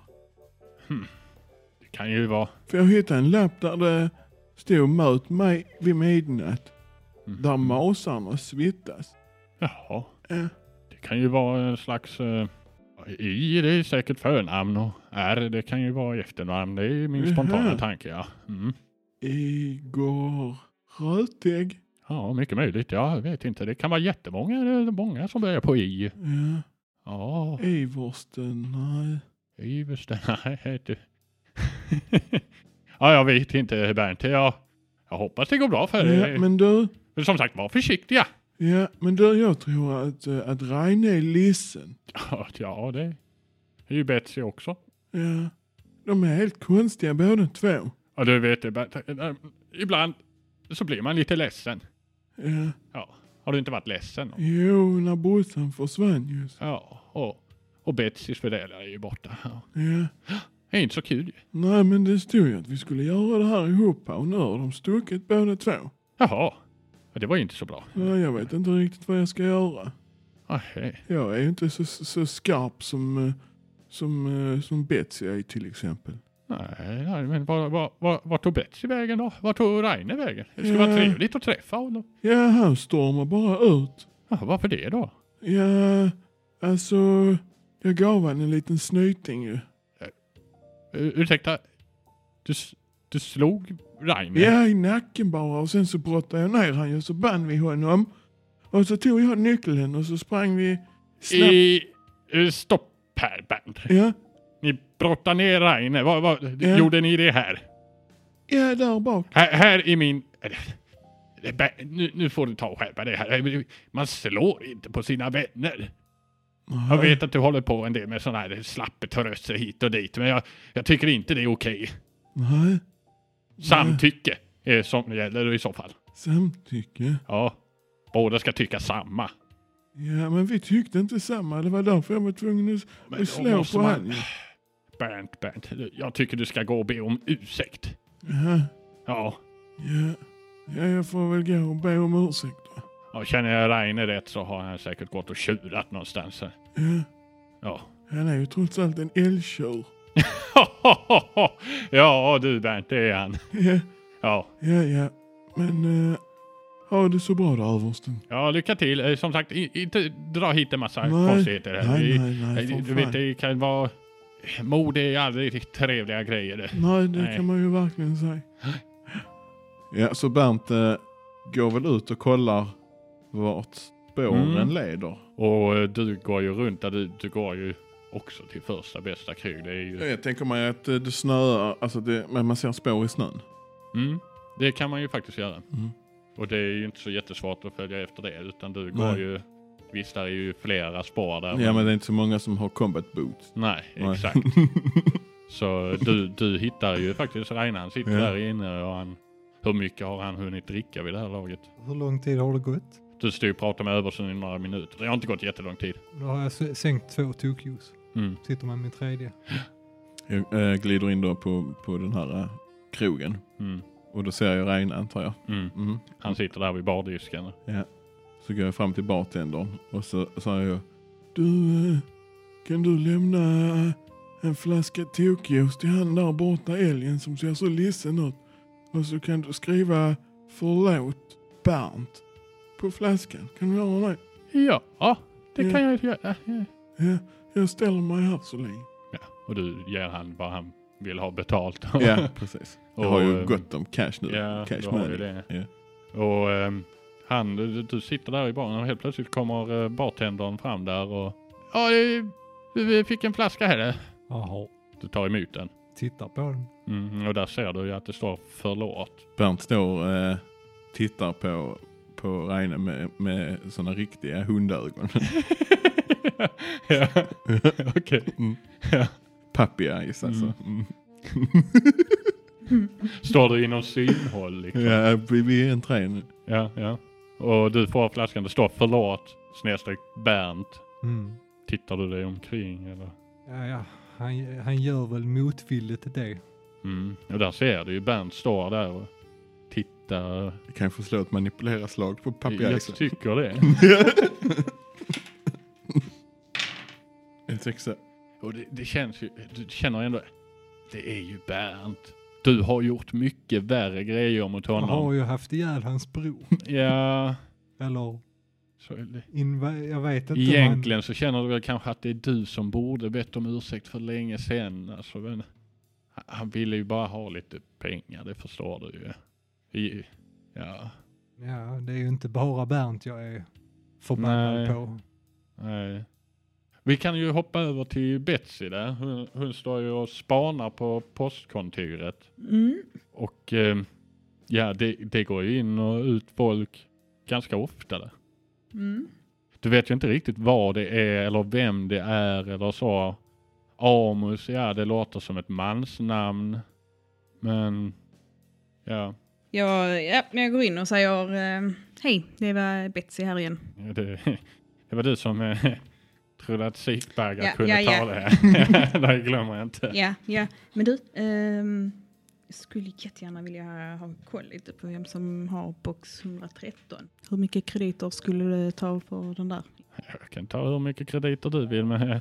Speaker 1: Det kan ju vara.
Speaker 3: För jag hittade en lapp där det stod möt mig vid midnatt.
Speaker 1: Mm.
Speaker 3: Där masarna svittas.
Speaker 1: Jaha.
Speaker 3: Ja,
Speaker 1: Det kan ju vara en slags... eh, I det är säkert förnamn och R det kan ju vara efternamn. Det är min
Speaker 3: Mhm.
Speaker 1: spontana tanke ja. Mm.
Speaker 3: Igor Rötägg.
Speaker 1: Ja, mycket möjligt. Jag vet inte. Det kan vara jättemånga eh, många som börjar på I.
Speaker 3: Ja,
Speaker 1: Ja,
Speaker 3: Iversten. Nej.
Speaker 1: Iversten. Nej, du. ja, jag vet inte Bernt. Jag, jag hoppas det går bra för dig.
Speaker 3: Ja, men du.
Speaker 1: Men som sagt, var försiktiga.
Speaker 3: Ja, men du, jag tror att, eh, att Reine är ledsen.
Speaker 1: Ja, Ja, det är ju Betsy också.
Speaker 3: Ja. De är helt konstiga båda två.
Speaker 1: Ja, du vet det. Bert. Eh, Ibland så blir man lite ledsen.
Speaker 3: Ja.
Speaker 1: Ja, har du inte varit ledsen?
Speaker 3: Jo, när brorsan försvann ju.
Speaker 1: Ja, och, och Betsys föräldrar är ju borta. Ja.
Speaker 3: Ja.
Speaker 1: Det är inte så kul ju.
Speaker 3: Nej, men det stod ju att vi skulle göra det här ihop och nu har de stuckit båda två.
Speaker 1: Jaha, ja, det var ju inte så bra.
Speaker 3: Ja, jag vet inte riktigt vad jag ska göra.
Speaker 1: Ahej.
Speaker 3: Jag är ju inte så, så, så skarp som, eh, som, eh, som Betsy är till exempel.
Speaker 1: Nej, nej, men var, var, var, var tog Betsy vägen då? Var tog Raine vägen? Det skulle vara
Speaker 3: Ja.
Speaker 1: trevligt att träffa honom.
Speaker 3: Ja, han stormar bara ut.
Speaker 1: Ja, varför det då?
Speaker 3: Ja, alltså, jag gav han en liten snyting ju.
Speaker 1: Uh, ursäkta, du, s- du slog Raine?
Speaker 3: Ja, i nacken bara och sen så brottade jag ner han ju så band vi honom. Och så tog jag nyckeln och så sprang vi snabbt.
Speaker 1: I, eh, stopp här Bernt.
Speaker 3: Ja,
Speaker 1: Ni brottade ner Raine. Vad, vad,
Speaker 3: Ja.
Speaker 1: Gjorde ni det här?
Speaker 3: ja, där bak.
Speaker 1: Här, här i min... eller, det är bä- Nu, nu får du ta och skärpa dig här. Man slår inte på sina vänner. Jag vet att du håller på en del med sådana här slappetröster hit och dit, men jag, jag tycker inte det är okej.
Speaker 3: Nej,
Speaker 1: Samtycke är som gäller i så fall.
Speaker 3: samtycke.
Speaker 1: Ja, båda ska tycka samma.
Speaker 3: Ja, men vi tyckte inte samma. Det var därför jag var tvungen att,
Speaker 1: Men då
Speaker 3: att slå
Speaker 1: måste
Speaker 3: på
Speaker 1: man-
Speaker 3: han ju.
Speaker 1: Bernt, Bernt, jag tycker du ska gå och be om ursäkt.
Speaker 3: Ja,
Speaker 1: Ja,
Speaker 3: ja. ja, jag får väl gå och be om ursäkt då.
Speaker 1: och känner jag Reine rätt så har han säkert gått och tjurat någonstans. här.
Speaker 3: Ja,
Speaker 1: Ja.
Speaker 3: han är ju trots allt en älgtjur.
Speaker 1: ja du Bernt, det är han.
Speaker 3: Ja,
Speaker 1: Ja.
Speaker 3: ja, ja. Men eh, ha det så bra då, översten.
Speaker 1: Ja, lycka till. Eh, Som sagt, i- inte dra hit en massa
Speaker 3: Nej.
Speaker 1: konstigheter. här.
Speaker 3: Nej,
Speaker 1: Vi-
Speaker 3: nej, nej,
Speaker 1: eh,
Speaker 3: för
Speaker 1: Du vet,
Speaker 3: fan.
Speaker 1: det kan vara... Mord är aldrig riktigt trevliga grejer. det.
Speaker 3: Nej, det
Speaker 1: Nej.
Speaker 3: kan man ju verkligen säga.
Speaker 6: Ja, så Bernt eh, går väl ut och kollar vart spåren
Speaker 1: Mm.
Speaker 6: leder.
Speaker 1: Och eh, du går ju runt där. Du, du går ju också till första bästa krig. Det är
Speaker 6: Ja,
Speaker 1: ju...
Speaker 6: Jag tänker mig att eh, det snöar, alltså det, men man ser spår i snön.
Speaker 1: Mm, det kan man ju faktiskt göra.
Speaker 3: Mm.
Speaker 1: Och det är ju inte så jättesvårt att följa efter det. Utan du går
Speaker 6: Nej.
Speaker 1: ju... Visst, där är ju flera spår där.
Speaker 6: Ja, men det är inte så många som har combat boots.
Speaker 1: Nej,
Speaker 6: Nej.
Speaker 1: exakt. Så du, du hittar ju faktiskt Reine. Han sitter
Speaker 6: Ja.
Speaker 1: där inne och han... Hur mycket har han hunnit dricka vid det här laget?
Speaker 5: Hur lång tid har det gått?
Speaker 1: Du stod och pratade med översen i några minuter. Det har inte gått jättelång tid.
Speaker 5: Då har jag s- sänkt två tokljus.
Speaker 1: Mm.
Speaker 5: Sitter man med tredje.
Speaker 6: Jag eh, glider in då på, på den här eh, krogen
Speaker 1: Mm.
Speaker 6: och då ser jag Reine antar jag.
Speaker 1: Mm.
Speaker 6: Mm.
Speaker 1: Han sitter där vid bardisken.
Speaker 6: Så går jag fram till bartendern och så säger jag
Speaker 3: Du, eh, kan du lämna eh, en flaska tokjuice till han där borta, älgen som ser så ledsen ut? Och så kan du skriva förlåt Bernt på flaskan. Kan du göra det?
Speaker 1: Ja, ja, det
Speaker 3: Mm.
Speaker 1: kan jag göra. Ja.
Speaker 3: Ja, jag ställer mig här så länge.
Speaker 1: Och du ger han vad han vill ha betalt.
Speaker 6: Ja, precis. Jag har
Speaker 1: Och,
Speaker 6: ju
Speaker 1: ehm,
Speaker 6: gott om cash nu.
Speaker 1: Ja,
Speaker 6: cash
Speaker 1: du har ju
Speaker 6: money.
Speaker 1: det.
Speaker 6: Ja.
Speaker 1: Och ehm, han, du, du sitter där i baren och helt plötsligt kommer eh, bartendern fram där och... Ja, det- vi vi fick en flaska här.
Speaker 5: Jaha.
Speaker 1: Du tar emot den.
Speaker 5: Tittar på den.
Speaker 1: Mm, och där ser du ju att det står förlåt.
Speaker 6: Bernt står eh, tittar på, på Reine med, med sådana riktiga hundögon.
Speaker 1: ja, okej.
Speaker 6: Puppy eyes alltså. Mm.
Speaker 1: Står du inom synhåll liksom?
Speaker 6: Ja, vi, vi är en trä nu.
Speaker 1: Ja, ja. Och du får flaskan, det står förlåt snedstreck Bernt.
Speaker 5: Mm.
Speaker 1: Tittar du dig omkring eller?
Speaker 5: Ja, ja. Han, han gör väl motvilligt det.
Speaker 1: Mm. Och där ser du ju Bernt står där och tittar.
Speaker 6: Vi kan få slå ett manipulera slag på puppy
Speaker 1: Jag
Speaker 3: liksom.
Speaker 6: eyes.
Speaker 1: tycker det.
Speaker 6: En sexa.
Speaker 1: Och det, det känns ju, du känner ändå, det är ju Bernt. Du har gjort mycket värre grejer mot
Speaker 5: Han har
Speaker 1: honom.
Speaker 5: ju haft ihjäl hans bror.
Speaker 1: Ja,
Speaker 5: Eller,
Speaker 1: så är det.
Speaker 5: inva- jag vet inte. om han-
Speaker 1: Egentligen så känner du väl kanske att det är du som borde bett om ursäkt för länge sedan. Alltså, men, han- han ville ju bara ha lite pengar, det förstår du ju. I, ja,
Speaker 5: Ja, det är ju inte bara Bernt jag är förbannad
Speaker 1: Nej.
Speaker 5: på.
Speaker 1: nej. Vi kan ju hoppa över till Betsy där. Hon, hon står ju och spanar på postkontoret.
Speaker 4: Mm.
Speaker 1: Och eh, ja, det, det går ju in och ut folk ganska ofta där.
Speaker 4: Mm.
Speaker 1: Du vet ju inte riktigt vad det är eller vem det är eller så. Amus, ja det låter som ett mansnamn. Men ja,
Speaker 4: Jag, ja, men jag går in och säger eh, hej, det var Betsy här igen.
Speaker 1: ja, det, det var du som eh, trodde att sikbaggar
Speaker 4: Ja,
Speaker 1: kunde
Speaker 4: ja,
Speaker 1: ta
Speaker 4: ja.
Speaker 1: det. det glömmer jag inte.
Speaker 4: Ja, ja. Men du, ehm, jag skulle jättegärna vilja ha koll lite på vem som har box 113. Hur mycket krediter skulle du ta på den där?
Speaker 1: Jag kan ta hur mycket krediter du vill men eh,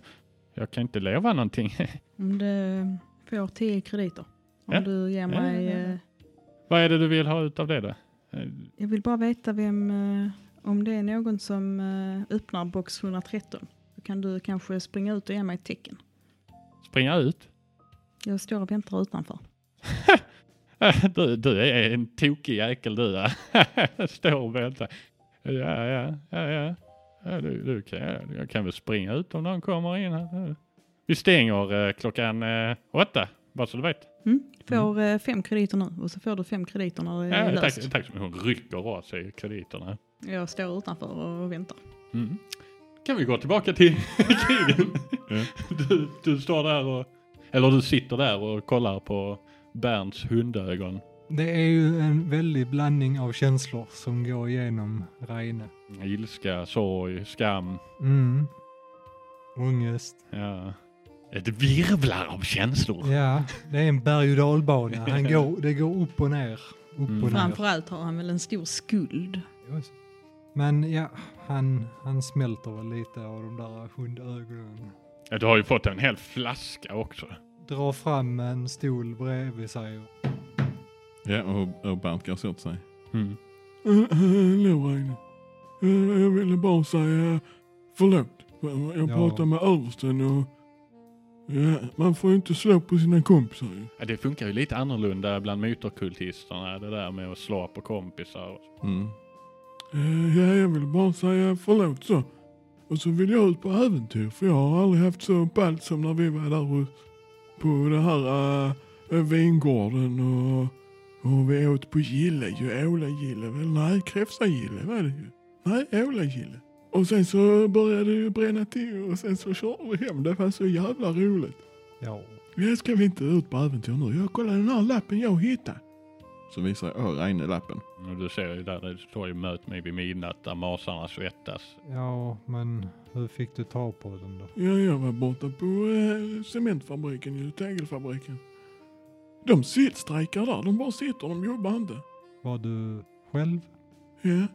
Speaker 1: jag kan inte lova någonting.
Speaker 4: Om du får 10 krediter. Om
Speaker 1: Ja.
Speaker 4: du ger
Speaker 1: Ja,
Speaker 4: mig...
Speaker 1: ja, ja.
Speaker 4: eh,
Speaker 1: vad är det du vill ha utav det då? Eh,
Speaker 4: Jag vill bara veta vem... eh, Om det är någon som eh, öppnar box 113. Då kan du kanske springa ut och ge mig ett tecken.
Speaker 1: Springa ut?
Speaker 4: Jag står och väntar utanför.
Speaker 1: Du, du är en tokig jäkel du. ja. Står och väntar. Ja, ja, ja, ja. ja du, du kan, jag kan väl springa ut om någon kommer in här. Vi stänger eh, klockan eh, åtta, bara så du vet.
Speaker 4: Mm? Får eh, fem krediter nu och så får du fem krediter när det är
Speaker 1: Ja, tack,
Speaker 4: löst.
Speaker 1: tack så mycket. Hon rycker av sig krediterna.
Speaker 4: Jag står utanför och väntar.
Speaker 1: Mm. Kan vi gå tillbaka till krigen? Du, du står där och, eller du sitter där och kollar på Bernts hundögon.
Speaker 5: Det är ju en väldig blandning av känslor som går igenom Reine.
Speaker 1: Ilska, sorg, skam.
Speaker 5: Mm. Ångest.
Speaker 1: Ja. Ett virvlar av känslor.
Speaker 5: Ja, det är en berg och dalbana. Han går, det går upp och ner. Upp
Speaker 1: Mm.
Speaker 5: och ner.
Speaker 4: Framförallt har han väl en stor skuld.
Speaker 5: Just. Men ja, han, han smälter väl lite av de där hundögonen.
Speaker 1: Du har ju fått en hel flaska också.
Speaker 5: Drar fram en stol bredvid sig. och-
Speaker 6: Ja, och, och Bernt går så åt sig.
Speaker 3: Eh, eh, Hallå Reine. Eh, Jag ville bara säga eh, förlåt. Jag
Speaker 5: Ja.
Speaker 3: pratade med översten och... Ja, man får ju inte slå på sina kompisar ju.
Speaker 1: Ja, det funkar ju lite annorlunda bland myterkultisterna, det där med att slå på kompisar.
Speaker 6: Mm.
Speaker 3: Eh, Ja, jag vill bara säga förlåt så. Och så vill jag ut på äventyr för jag har aldrig haft så ballt som när vi var där hos- på den här eh, vingården och, och vi åt på Gille ju. Ålagille väl? Nej, Kräfsagille var det ju. Nej, Ålagille. Och sen så började det ju bränna till och sen så körde vi hem. Det var så jävla roligt.
Speaker 5: Ja.
Speaker 3: Ja, ska vi inte ut på äventyr nu? Jag kollar den här lappen jag hittade.
Speaker 6: Så visar jag Reine lappen.
Speaker 1: Och du ser ju där, det står ju möt mig vid midnatt där masarna svettas.
Speaker 5: Ja, men hur fick du tag på den då?
Speaker 3: Ja, jag var borta på eh, cementfabriken, ju, tegelfabriken. De sittstrejkar där, de bara sitter, de jobbar inte.
Speaker 5: Var du själv?
Speaker 3: Ja,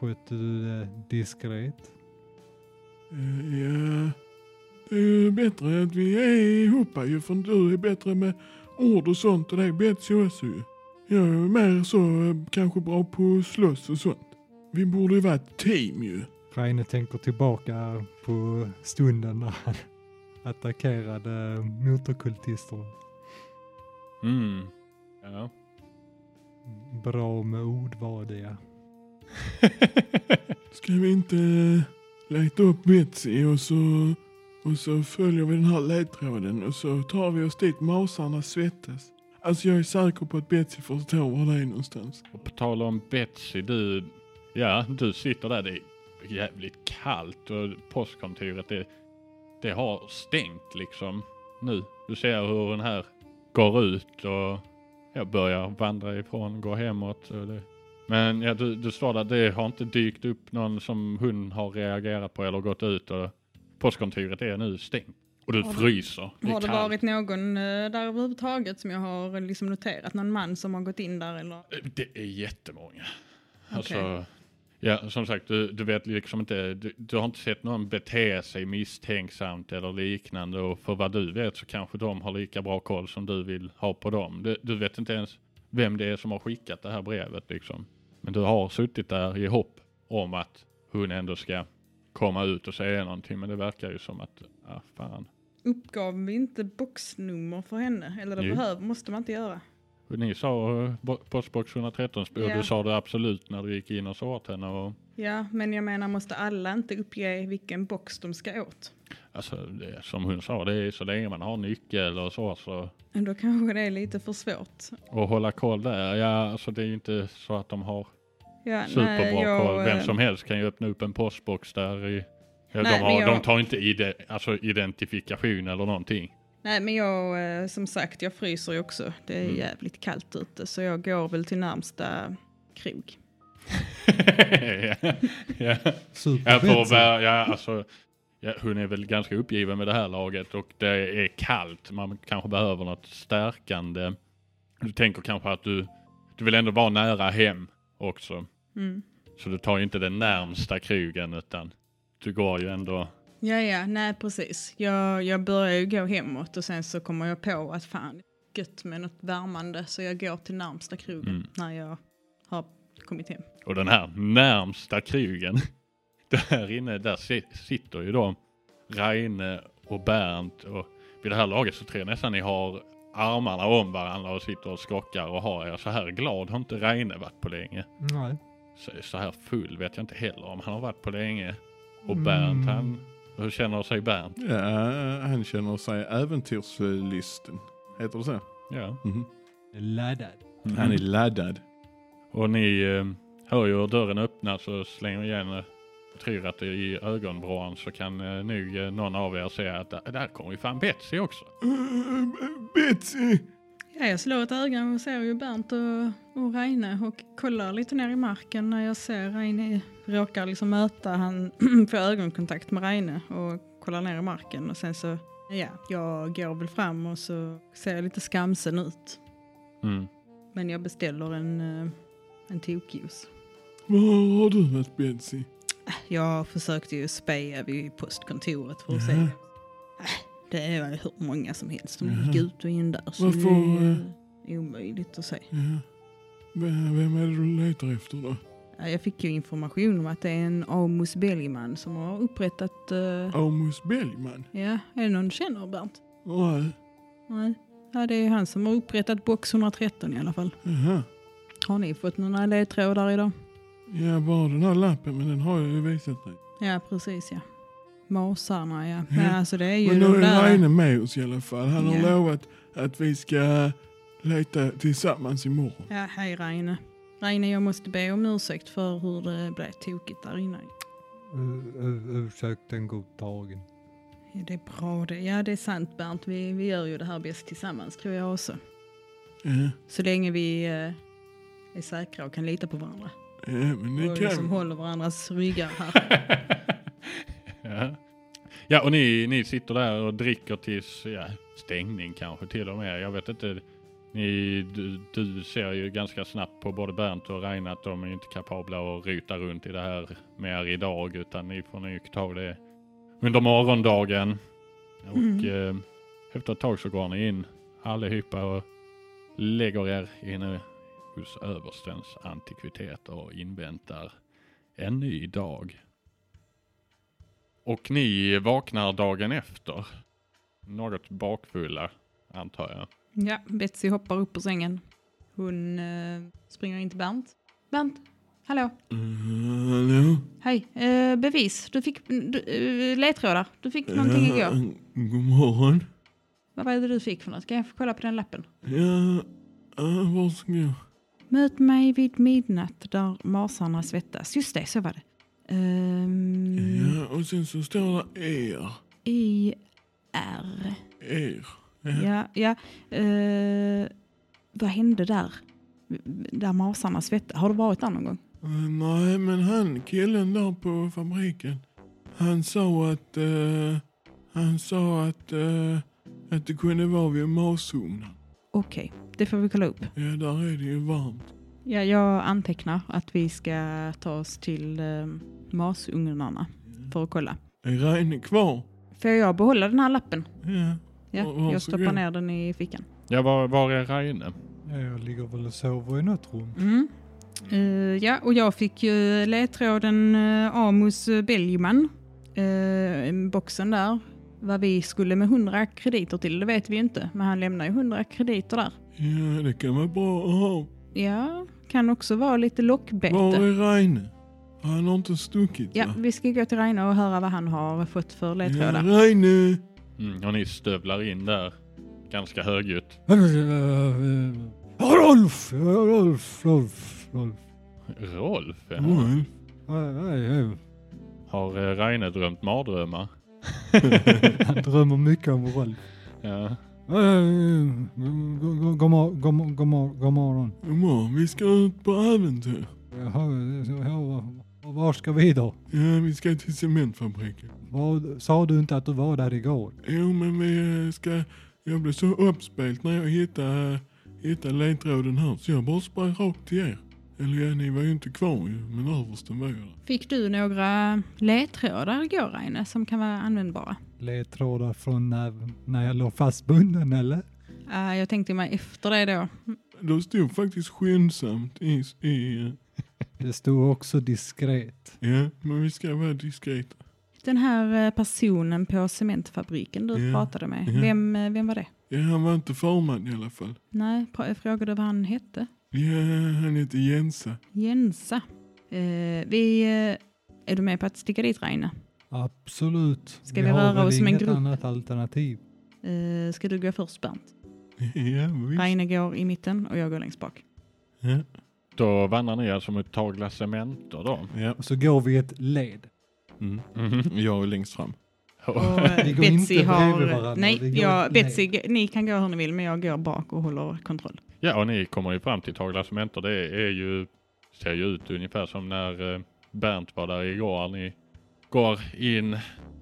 Speaker 5: Skötte du det diskret?
Speaker 3: eh, ja. Det är ju bättre att vi är ihop ju, för du är bättre med ord och sånt och det är Betsy också ju. Jag är mer så eh, kanske bra på att slåss och sånt. Vi borde ju vara ett team ju.
Speaker 5: Reine tänker tillbaka på stunden när han attackerade motorkultisterna.
Speaker 1: Mm. Ja.
Speaker 5: Bra med ord var det.
Speaker 3: Ska vi inte eh, leta upp Betsy och så, och så följer vi den här ledtråden och så tar vi oss dit masarna svettas. Alltså jag är säker på att Betsy förstår var det är någonstans.
Speaker 1: Och på tal om Betsy, du, Ja, du sitter där. Det är jävligt kallt och postkontoret det, det har stängt liksom nu. Du ser hur den här går ut och jag börjar vandra ifrån, går hemåt. Och det. Men ja, du, du står där, det har inte dykt upp någon som hon har reagerat på eller gått ut och postkontoret är nu stängt. Och du
Speaker 4: Har det-
Speaker 1: fryser. Det
Speaker 4: Har
Speaker 1: är
Speaker 4: det
Speaker 1: kallt.
Speaker 4: varit någon eh, där överhuvudtaget som jag har liksom noterat? Någon man som har gått in där eller?
Speaker 1: Det är jättemånga.
Speaker 4: Okej.
Speaker 1: Alltså, ja, som sagt, du, du vet liksom inte, du, du har inte sett någon bete sig misstänksamt eller liknande och för vad du vet så kanske de har lika bra koll som du vill ha på dem. Du, du vet inte ens vem det är som har skickat det här brevet liksom. Men du har suttit där i hopp om att hon ändå ska komma ut och säga någonting. Men det verkar ju som att, ah, fan.
Speaker 4: Uppgav vi inte boxnummer för henne? Eller det
Speaker 1: Jo.
Speaker 4: behöver, måste man inte göra.
Speaker 1: Ni sa eh, bo- postbox 113 och
Speaker 4: Ja.
Speaker 1: du sa det absolut när du gick in och sa åt henne och
Speaker 4: Ja, men jag menar måste alla inte uppge vilken box de ska åt?
Speaker 1: Alltså det, som hon sa, det är så länge man har nyckel och så, så
Speaker 4: Men Då kanske det är lite för svårt.
Speaker 1: och hålla koll där. Ja, alltså det är ju inte så att de har
Speaker 4: Ja,
Speaker 1: superbra koll. Vem
Speaker 4: eh,
Speaker 1: som helst kan ju öppna upp en postbox där i Ja,
Speaker 4: Nej,
Speaker 1: de,
Speaker 4: men
Speaker 1: har,
Speaker 4: jag-
Speaker 1: de tar inte ide, alltså identifikation eller någonting.
Speaker 4: Nej, men jag, eh, som sagt, jag fryser ju också. Det är
Speaker 1: Mm.
Speaker 4: jävligt kallt ute, så jag går väl till närmsta krog.
Speaker 1: ja, ja. Ja, för att
Speaker 5: Superspetsig.
Speaker 1: vara- ja, alltså, ja, hon är väl ganska uppgiven med det här laget och det är kallt. Man kanske behöver något stärkande. Du tänker kanske att du, du vill ändå vara nära hem också.
Speaker 4: Mm.
Speaker 1: Så du tar ju inte den närmsta krogen utan du går ju ändå.
Speaker 4: Ja, ja, nej precis. Jag, jag börjar ju gå hemåt och sen så kommer jag på att fan, gött med något värmande. Så jag går till närmsta krogen
Speaker 1: Mm.
Speaker 4: när jag har kommit hem.
Speaker 1: Och den här närmsta krogen. Där inne, där si- sitter ju då Reine och Bernt och vid det här laget så tror jag nästan ni har armarna om varandra och sitter och skakar och har er. Så här glad har inte Reine varit på länge.
Speaker 5: Nej.
Speaker 1: Så, så här full vet jag inte heller om han har varit på länge. Och
Speaker 5: Mm.
Speaker 1: Bernt han, hur känner sig Bernt?
Speaker 6: Ja, han känner sig äventyrslysten. Heter det så?
Speaker 1: Ja.
Speaker 6: Mhm.
Speaker 5: Laddad.
Speaker 6: Han är laddad.
Speaker 1: Och ni eh, hör ju hur dörren öppnas och slänger igen. eh, och tror att det är i ögonvrån så kan eh, nog eh, någon av er säga att där, där kommer ju fan Betsy också.
Speaker 6: Uh, Betsy!
Speaker 4: Ja, jag slår ett öga och ser ju Bernt och, och Reine och kollar lite ner i marken när jag ser Reine råkar liksom möta han, får ögonkontakt med Reine och kollar ner i marken och sen så, ja, jag går väl fram och så ser jag lite skamsen ut.
Speaker 1: Mm.
Speaker 4: Men jag beställer en, eh, en tokjuice.
Speaker 3: Var har du varit Betsy?
Speaker 4: Jag försökte ju speja vid postkontoret för att se.
Speaker 3: Jaha.
Speaker 4: Äh, Det var ju hur många som helst som gick
Speaker 3: Jaha.
Speaker 4: ut och in där. Så
Speaker 3: Varför,
Speaker 4: det är ju omöjligt att säga.
Speaker 3: Ja. Vem vem är det du letar efter då?
Speaker 4: Ja, Jag fick ju information om att det är en Amos Belgman som har upprättat... eh,
Speaker 3: Amos Bellman?
Speaker 4: Ja, är det någon du känner Bernt?
Speaker 3: Nej.
Speaker 4: Nej. Ja, det är han som har upprättat box 113 i alla fall.
Speaker 3: Jaha.
Speaker 4: Har ni fått några ledtrådar idag?
Speaker 3: Ja, bara den här lappen, men den har jag ju visat dig.
Speaker 4: Ja, precis ja. Masarna ja.
Speaker 3: Ja.
Speaker 4: Men alltså det är ju
Speaker 3: Men nu
Speaker 4: de
Speaker 3: är
Speaker 4: där...
Speaker 3: Reine med oss i alla fall. Han har
Speaker 4: Ja.
Speaker 3: lovat att vi ska leta tillsammans imorgon.
Speaker 4: Ja, hej Reine. Reine, jag måste be om ursäkt för hur det blev tokigt där inne.
Speaker 5: U- u- Ursäkten godtagen.
Speaker 4: Ja, det är bra det. Ja, det är sant Bernt. Vi, vi gör ju det här bäst tillsammans tror jag också.
Speaker 3: Ja,
Speaker 4: Så länge vi eh, är säkra och kan lita på varandra.
Speaker 3: ja men det
Speaker 4: och liksom
Speaker 3: kan vi.
Speaker 4: håller varandras ryggar här.
Speaker 1: ja. ja, och ni, ni sitter där och dricker tills ja, stängning kanske till och med. Jag vet inte. Ni, du, du ser ju ganska snabbt på både Bernt och Reine att de är inte kapabla att ryta runt i det här mer idag utan ni får nog ta det under morgondagen. Och eh, efter ett tag så går ni in allihopa och lägger er inne hos överstens antikviteter och inväntar en ny dag. Och ni vaknar dagen efter. Något bakfulla, antar jag.
Speaker 4: ja, Betsy hoppar upp ur sängen. Hon eh, springer in till Bernt. Bernt, hallå,
Speaker 3: Uh, hallå?
Speaker 4: hej. Eh, bevis, du fick du, eh, ledtrådar. Du fick någonting
Speaker 3: Ja, mm,
Speaker 4: igår.
Speaker 3: God morgon.
Speaker 4: Vad var det du fick för något? Kan jag få kolla på den lappen?
Speaker 3: Ja, ja var ska jag?
Speaker 4: Möt mig vid midnatt där masarna svettas. Just det, så var det. Ehm,
Speaker 3: Ja, och sen så står det er.
Speaker 4: I R.
Speaker 3: Er.
Speaker 4: Ja, ja. Eh, vad hände där? Där masarna svettas. Har du varit där någon gång?
Speaker 3: Eh, Nej, men han killen där på fabriken. Han sa att... eh, han sa att... eh, att det kunde vara vid masugnen.
Speaker 4: Okej, det får vi kolla upp.
Speaker 3: Ja, där är det ju varmt.
Speaker 4: Ja, jag antecknar att vi ska ta oss till eh, masugnarna
Speaker 3: Mm.
Speaker 4: för att kolla.
Speaker 3: Är Reine kvar?
Speaker 4: Får jag behålla den här lappen?
Speaker 3: Ja. Ja,
Speaker 4: Ja, jag stoppar
Speaker 3: varsågod.
Speaker 4: ner den i fickan.
Speaker 1: Ja, var, var är Reine?
Speaker 5: Jag ligger väl och sover i något rum.
Speaker 4: Mm. Eh, ja, och jag fick ju ledtråden uh, Amos Bellman. Uh, boxen där. Vad vi skulle med 100 krediter till, det vet vi ju inte. Men han lämnar ju 100 krediter där.
Speaker 3: Ja, det kan vara bra att ha.
Speaker 4: Ja, kan också vara lite
Speaker 3: Var
Speaker 4: lockbete.
Speaker 3: är Reine? Han har inte stuckit
Speaker 4: Ja,
Speaker 3: va?
Speaker 4: vi ska gå till Reine och höra vad han har fått för
Speaker 3: Ja,
Speaker 4: ledtrådar.
Speaker 3: Reine!
Speaker 1: Mm, och ni stövlar in där. Ganska högljutt.
Speaker 5: eh, Rolf! Rolf! Rolf! Rolf!
Speaker 1: Rolf? ja.
Speaker 3: Oj.
Speaker 1: Har eh, Reine drömt mardrömmar?
Speaker 5: Han drömmer mycket om Rolf.
Speaker 1: Ja.
Speaker 5: God morgon, god morgon, god morgon, god morgon.
Speaker 3: Godmorgon, vi ska ut på äventyr.
Speaker 5: Jaha, jaha, och Var ska vi då?
Speaker 3: Ja, vi ska till cementfabriken.
Speaker 5: Vad- Sa du inte att du var där igår?
Speaker 3: Jo, men vi eh, ska... Jag blev så uppspelt när jag hittade, hittade ledtråden här så jag bara sprang rakt till er. Eller ja, ni var ju inte kvar ju, men översten var ju där.
Speaker 4: Fick du några ledtrådar igår Reine som kan vara användbara?
Speaker 5: Ledtrådar från när, när jag låg fastbunden eller?
Speaker 4: Eh, jag tänkte mig efter det då.
Speaker 3: Då stod faktiskt skyndsamt i... i eh,
Speaker 5: Det stod också diskret.
Speaker 3: ja, men vi ska vara diskreta.
Speaker 4: Den här eh, personen på cementfabriken du
Speaker 3: Ja.
Speaker 4: pratade med,
Speaker 5: Mhm.
Speaker 3: Ja.
Speaker 4: vem, eh, vem var det?
Speaker 3: Ja, han var inte förman i alla fall.
Speaker 4: Nej, pra- jag frågade vad han hette.
Speaker 3: Ja, han heter Jensa.
Speaker 4: Jensa. Eh, vi, eh, är du med på att sticka dit Reine?
Speaker 5: Absolut.
Speaker 4: Ska vi röra
Speaker 5: har väl
Speaker 4: oss som en
Speaker 5: inget
Speaker 4: grupp?
Speaker 5: annat alternativ.
Speaker 4: Eh, ska du gå först Bernt?
Speaker 3: Ja, visst.
Speaker 4: Reine går i mitten och jag går längst bak.
Speaker 3: Ja.
Speaker 1: Då vandrar ni alltså mot Tagla Cementer då?
Speaker 3: ja.
Speaker 5: Och så går vi ett led.
Speaker 3: Mm.
Speaker 1: Mhm.
Speaker 3: Jag är längst fram.
Speaker 4: Och
Speaker 5: Vi
Speaker 4: eh,
Speaker 5: går inte
Speaker 4: Betsy
Speaker 5: bredvid
Speaker 4: har...
Speaker 5: varandra, vi
Speaker 4: Nej,
Speaker 5: går-
Speaker 4: jag,
Speaker 5: nej.
Speaker 4: Betsy, g- ni kan gå hur ni vill men jag går bak och håller kontroll.
Speaker 1: Ja, och ni kommer ju fram till Tagla Cementer. Det är ju, ser ju ut ungefär som när eh, Bernt var där igår. Ni går in.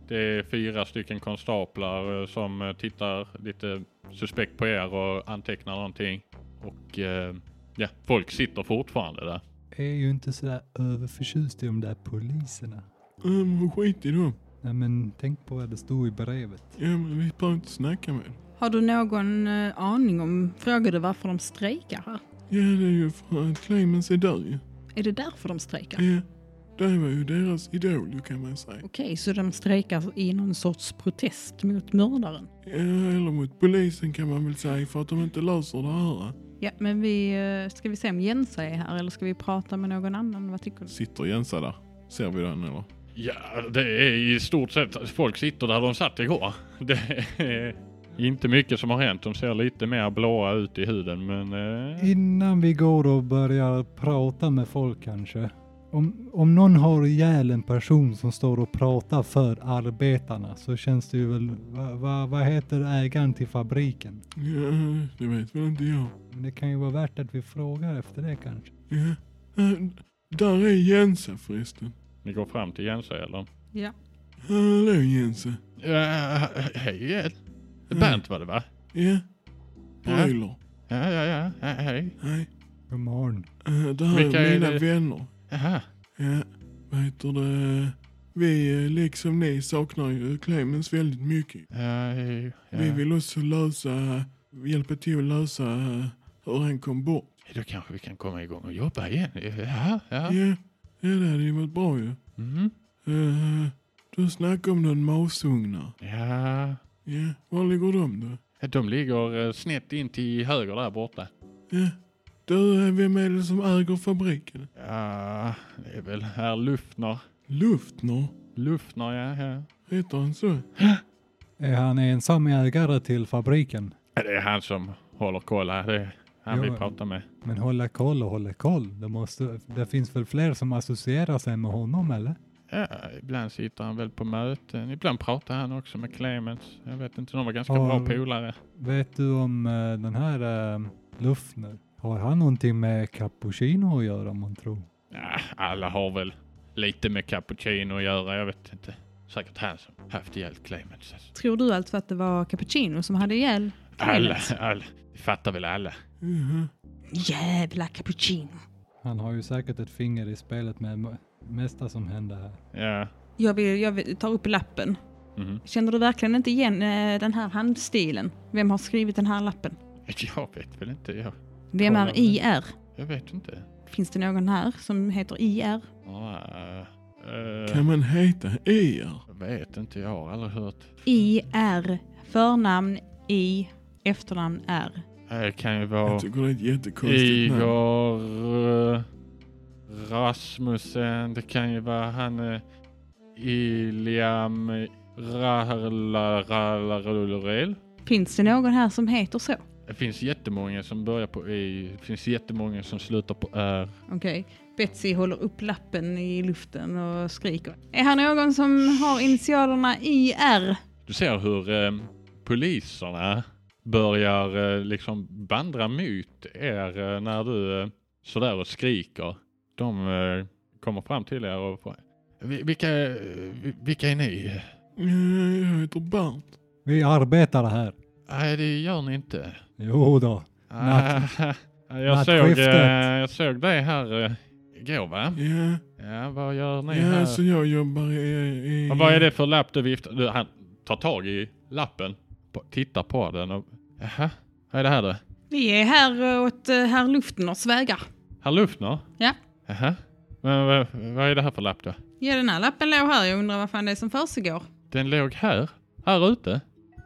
Speaker 1: Det är fyra stycken konstaplar eh, som eh, tittar lite suspekt på er och antecknar någonting. Och eh, ja, folk sitter fortfarande där.
Speaker 5: Jag är ju inte sådär överförtjust i de där poliserna.
Speaker 3: Um, skit i dem.
Speaker 5: Nej men tänk på vad det stod i brevet.
Speaker 3: Ja, men vi behöver inte snacka med dem.
Speaker 4: Har du någon eh, aning om, frågade varför de strejkar här?
Speaker 3: Ja, det är ju för att Clemens är där ju.
Speaker 4: Är det därför de strejkar?
Speaker 3: Ja. Det var ju deras idol ju, kan man säga.
Speaker 4: Okej, så de strejkar i någon sorts protest mot mördaren?
Speaker 3: Ja, eller mot polisen kan man väl säga för att de inte löser det här.
Speaker 4: Ja, men vi, eh, ska vi se om Jensa är här eller ska vi prata med någon annan? Vad tycker du?
Speaker 6: Sitter Jensa där? Ser vi den eller?
Speaker 1: Ja, det är i stort sett folk sitter där de satt igår. Det är inte mycket som har hänt. De ser lite mer blåa ut i huden, men eh,
Speaker 5: Innan vi går och börjar prata med folk kanske. Om, om någon har ihjäl en person som står och pratar för arbetarna så känns det ju väl, vad va, vad heter ägaren till fabriken?
Speaker 3: Ja, det vet väl inte jag.
Speaker 5: Men det kan ju vara värt att vi frågar efter det kanske.
Speaker 3: Ja. Eh, Där är Jensa förresten.
Speaker 1: ni går fram till Jensa eller?
Speaker 4: Ja.
Speaker 3: Hallå Jensa.
Speaker 1: Ja, hej. eh, Bernt var det va?
Speaker 3: Ja. Broiler.
Speaker 1: Ja, ja, ja. ja, Hej.
Speaker 3: Nej.
Speaker 5: God morgon.
Speaker 3: Eh, Det här
Speaker 1: Vilka är
Speaker 3: är mina
Speaker 1: det?
Speaker 3: vänner.
Speaker 1: Jaha.
Speaker 3: Ja, vad heter det? Vi eh, liksom ni saknar ju Clemens väldigt mycket.
Speaker 1: Ja, hej, ja.
Speaker 3: Vi vill också lösa, hjälpa till att lösa eh, hur han kom bort.
Speaker 1: Då kanske vi kan komma igång och jobba igen. Ja,
Speaker 3: Ja,
Speaker 1: ja.
Speaker 3: ja det hade ju varit bra ju.
Speaker 1: Mm.
Speaker 3: Uh, du snackade om någon masugnar.
Speaker 1: Ja.
Speaker 3: Ja, var ligger de då?
Speaker 1: De ligger eh, snett in till höger där borta.
Speaker 3: Ja. Du, eh, vem är det som äger fabriken?
Speaker 1: Ja, det är väl herr Luftner.
Speaker 3: Luftner?
Speaker 1: Luftner, ja, ja.
Speaker 3: Heter han så?
Speaker 5: Är han ensam ägare till fabriken?
Speaker 1: Ja, Det är han som håller koll här. Det är Han
Speaker 5: Ja,
Speaker 1: vill
Speaker 5: men-
Speaker 1: prata med.
Speaker 5: Men hålla koll och hålla koll. Det, måste, det finns väl fler som associerar sig med honom eller?
Speaker 1: Ja, ibland sitter han väl på möten. Ibland pratar han också med Clemens. Jag vet inte, de var ganska
Speaker 5: Ja,
Speaker 1: bra
Speaker 5: men-
Speaker 1: polare.
Speaker 5: Vet du om eh, den här eh, Lufner? Har han någonting med cappuccino att göra man tror?
Speaker 1: Ja, alla har väl lite med cappuccino att göra. Jag vet inte. Säkert han som haft ihjäl Clemens. alltså.
Speaker 4: Tror du alltså att det var cappuccino som hade ihjäl
Speaker 1: Alla,
Speaker 4: Clemens?
Speaker 1: alla. Det fattar väl alla.
Speaker 3: Jaha.
Speaker 4: Jävla cappuccino.
Speaker 5: Han har ju säkert ett finger i spelet med det mesta som händer här.
Speaker 1: Ja.
Speaker 4: Jag, vill, jag vill, tar upp lappen.
Speaker 1: Mhm.
Speaker 4: Känner du verkligen inte igen eh, den här handstilen? Vem har skrivit den här lappen?
Speaker 1: Jag vet väl inte. Jag,
Speaker 4: Vem
Speaker 1: Kolla
Speaker 4: är
Speaker 1: nu.
Speaker 4: IR?
Speaker 1: jag vet inte.
Speaker 4: Finns det någon här som heter IR?
Speaker 1: Ja, eh,
Speaker 3: Kan man heta E er?
Speaker 1: jag vet inte. Jag har aldrig hört.
Speaker 4: IR. Förnamn I. Efternamn R.
Speaker 1: Eh, Det kan ju
Speaker 3: Jag
Speaker 1: vara
Speaker 3: tycker det är ett jättekonstigt namn.
Speaker 1: Igor eh, Rasmussen. Det kan ju vara han eh, Iliam Rahalarulurel.
Speaker 4: Finns det någon här som heter så?
Speaker 1: Det finns jättemånga som börjar på Y. Det finns jättemånga som slutar på Ö.
Speaker 4: Okej. Betsy håller upp lappen i luften och skriker. Är här någon som har initialerna IR?
Speaker 1: Du ser hur eh, poliserna börjar eh, liksom bandra mot er eh, när du eh, sådär och skriker. De eh, kommer fram till er och frågar. "Vi- Vilka, eh, vi- vilka är ni?
Speaker 3: Eh, Jag heter Bernt.
Speaker 5: Vi arbetar här.
Speaker 1: Nej, det gör ni inte.
Speaker 5: Jo då. Natt-
Speaker 1: Ah, jag, såg,
Speaker 5: nattskiftet.
Speaker 1: eh, jag såg dig här eh, igår va?
Speaker 3: Ja,
Speaker 1: Ja, vad gör ni här?
Speaker 3: ja så jag jobbar i... i
Speaker 1: Och vad är det för lapp du viftar? Du, han tar tag i lappen, på, tittar på den och... Jaha, vad är det här då?
Speaker 4: Vi är här åt eh, herr Luftners vägar.
Speaker 1: Herr Lufner?
Speaker 4: Ja.
Speaker 1: Jaha. Men vad, vad är det här för lapp då?
Speaker 4: Ja, den här lappen låg här. Jag undrar vad fan det är som försiggår.
Speaker 1: Den låg här, här ute,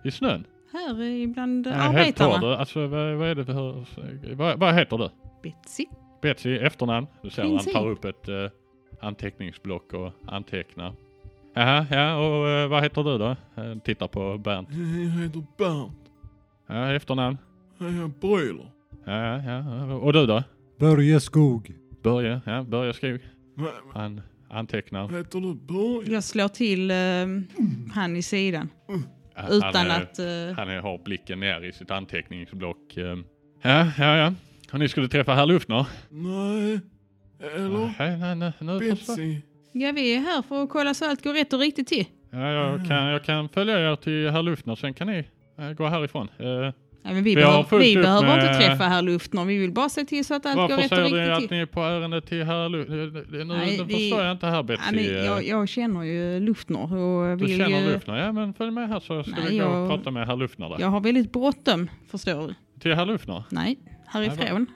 Speaker 1: i snön.
Speaker 4: Här eh, bland eh,
Speaker 1: Jag är helt torr.
Speaker 4: arbetarna.
Speaker 1: du. Alltså vad, vad är det för... Vad, vad heter du?
Speaker 4: Betsy.
Speaker 1: Betsy efternamn. Du ser han
Speaker 4: Lindsay.
Speaker 1: tar upp ett eh, anteckningsblock och antecknar. Jaha, ja och eh, vad heter du då? Eh, tittar på Bernt.
Speaker 3: Eh, Jag heter Bernt.
Speaker 1: Ja, efternamn.
Speaker 3: Jag är broiler.
Speaker 1: Ja, ja, ja. Och du då?
Speaker 5: Börje Skog.
Speaker 1: Börje, ja, Börje Skog.
Speaker 3: Va-
Speaker 1: Han antecknar.
Speaker 3: Vad heter du? Börje?
Speaker 4: Jag slår till eh, han i sidan.
Speaker 1: Ja, han,
Speaker 4: Utan
Speaker 1: är-
Speaker 4: att... eh,
Speaker 1: Han är, har blicken ner i sitt anteckningsblock. eh. Ja, ja, ja. Och ni skulle träffa herr Lufner?
Speaker 3: Nej. Eller?
Speaker 1: Nej, nej, nej, nu förstår
Speaker 3: Betsy.
Speaker 4: Ja, vi är här för att kolla så allt går rätt och riktigt till.
Speaker 1: ja, jag, kan, jag kan följa er till herr Lufner, sen kan ni eh, gå härifrån. Eh,
Speaker 4: Ja, men vi
Speaker 1: Vi har
Speaker 4: behöver,
Speaker 1: fullt
Speaker 4: vi
Speaker 1: upp
Speaker 4: behöver
Speaker 1: med-
Speaker 4: inte träffa herr Luftner. Vi vill bara se till så att allt går
Speaker 1: Varför
Speaker 4: rätt och
Speaker 1: säger ni
Speaker 4: riktigt
Speaker 1: att
Speaker 4: till.
Speaker 1: ni är på ärende till herr Lu- Nu, nu
Speaker 4: Nej,
Speaker 1: nu
Speaker 4: vi-
Speaker 1: förstår jag inte här
Speaker 4: Ja,
Speaker 1: Betsy.
Speaker 4: men jag, jag känner ju Luftner och
Speaker 1: du
Speaker 4: vill
Speaker 1: känner
Speaker 4: ju...
Speaker 1: Lufner? Ja men följ med här så ska
Speaker 4: Nej,
Speaker 1: vi gå och
Speaker 4: jag-
Speaker 1: prata med herr Lufner där.
Speaker 4: Jag har väldigt bråttom, förstår du.
Speaker 1: Till herr Lufner?
Speaker 4: Nej,
Speaker 1: Nej,
Speaker 4: härifrån.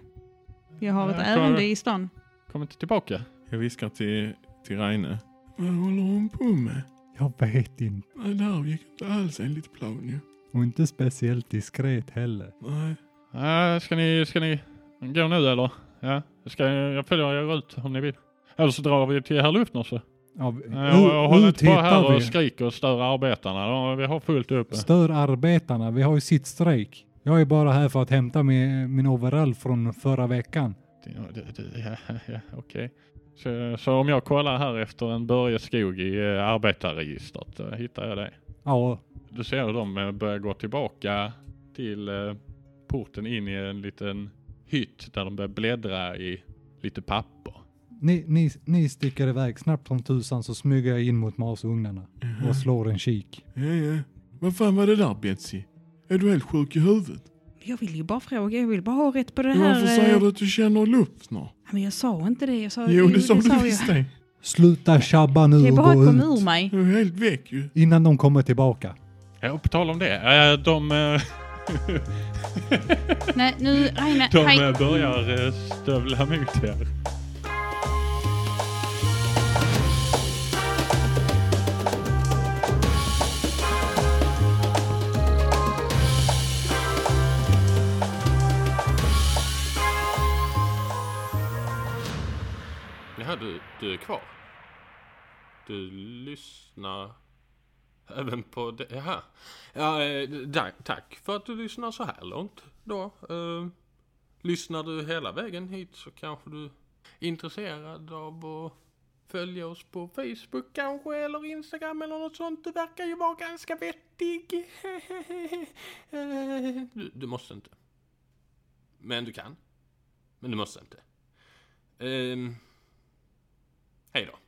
Speaker 4: Jag har ett
Speaker 1: Ja,
Speaker 4: ärende
Speaker 1: klar.
Speaker 4: i stan.
Speaker 1: Kom inte tillbaka.
Speaker 6: Jag viskar till, till Reine.
Speaker 3: Vad håller hon på med?
Speaker 5: Jag vet inte.
Speaker 3: Nej, det här gick inte alls enligt plan ju.
Speaker 5: Och inte speciellt diskret heller.
Speaker 3: Nej.
Speaker 1: Ja, ska ni, ska ni gå nu eller? Ja, ska jag, jag följer er ut om ni vill. Eller så drar vi till herr Lufner så.
Speaker 5: Ja, vi-
Speaker 1: Ja, Jag, jag håller
Speaker 5: ut
Speaker 1: inte på
Speaker 5: hittar
Speaker 1: här
Speaker 5: vi.
Speaker 1: och skriker och stör arbetarna. De- Vi har fullt upp.
Speaker 5: Stör arbetarna. Vi har ju sitt strejk. Jag är bara här för att hämta min, min overall från förra veckan.
Speaker 1: Ja, det- det- ja, ja, Okej. Så, så om jag kollar här efter en Börje Skog i eh, arbetarregistret, då hittar jag dig.
Speaker 5: Ja,
Speaker 1: Du ser hur de eh, börjar gå tillbaka till eh, porten in i en liten hytt där de börjar bläddra i lite papper.
Speaker 5: ni, ni, ni sticker iväg snabbt som tusan så smyger jag in mot masugnarna och slår en kik.
Speaker 3: Ja, ja. Vad fan var det där Betsy? Är du helt sjuk i huvudet?
Speaker 4: Jag vill ju bara fråga, jag vill bara ha rätt på det
Speaker 3: Men
Speaker 4: här.
Speaker 3: Varför
Speaker 4: eh,
Speaker 3: säger du att du känner Luftner?
Speaker 4: Ja, Men jag sa inte det. Jag sa,
Speaker 3: Jo, det sa du
Speaker 4: jag.
Speaker 3: visst det.
Speaker 5: Sluta tjabba
Speaker 4: Det
Speaker 5: nu
Speaker 4: är
Speaker 5: och
Speaker 4: bara att
Speaker 5: gå
Speaker 4: komma ur
Speaker 5: ut
Speaker 4: mig.
Speaker 3: Du är helt väck ju.
Speaker 5: innan de kommer tillbaka.
Speaker 1: Ja, och på tal om det. eh, De, eh,
Speaker 4: Nej, nu... Aj, nej,
Speaker 1: de
Speaker 4: hej.
Speaker 1: eh, börjar eh, stövla mot er.
Speaker 2: Jaha, du, du är kvar? Du lyssnar även på det? Jaha. Ja, eh, tack, tack för att du lyssnar så här långt då. Eh, Lyssnar du hela vägen hit så kanske du är intresserad av att följa oss på Facebook kanske eller Instagram eller något sånt. Du verkar ju vara ganska vettig. Du, du måste inte. Men du kan. Men du måste inte. Ehm, hej då.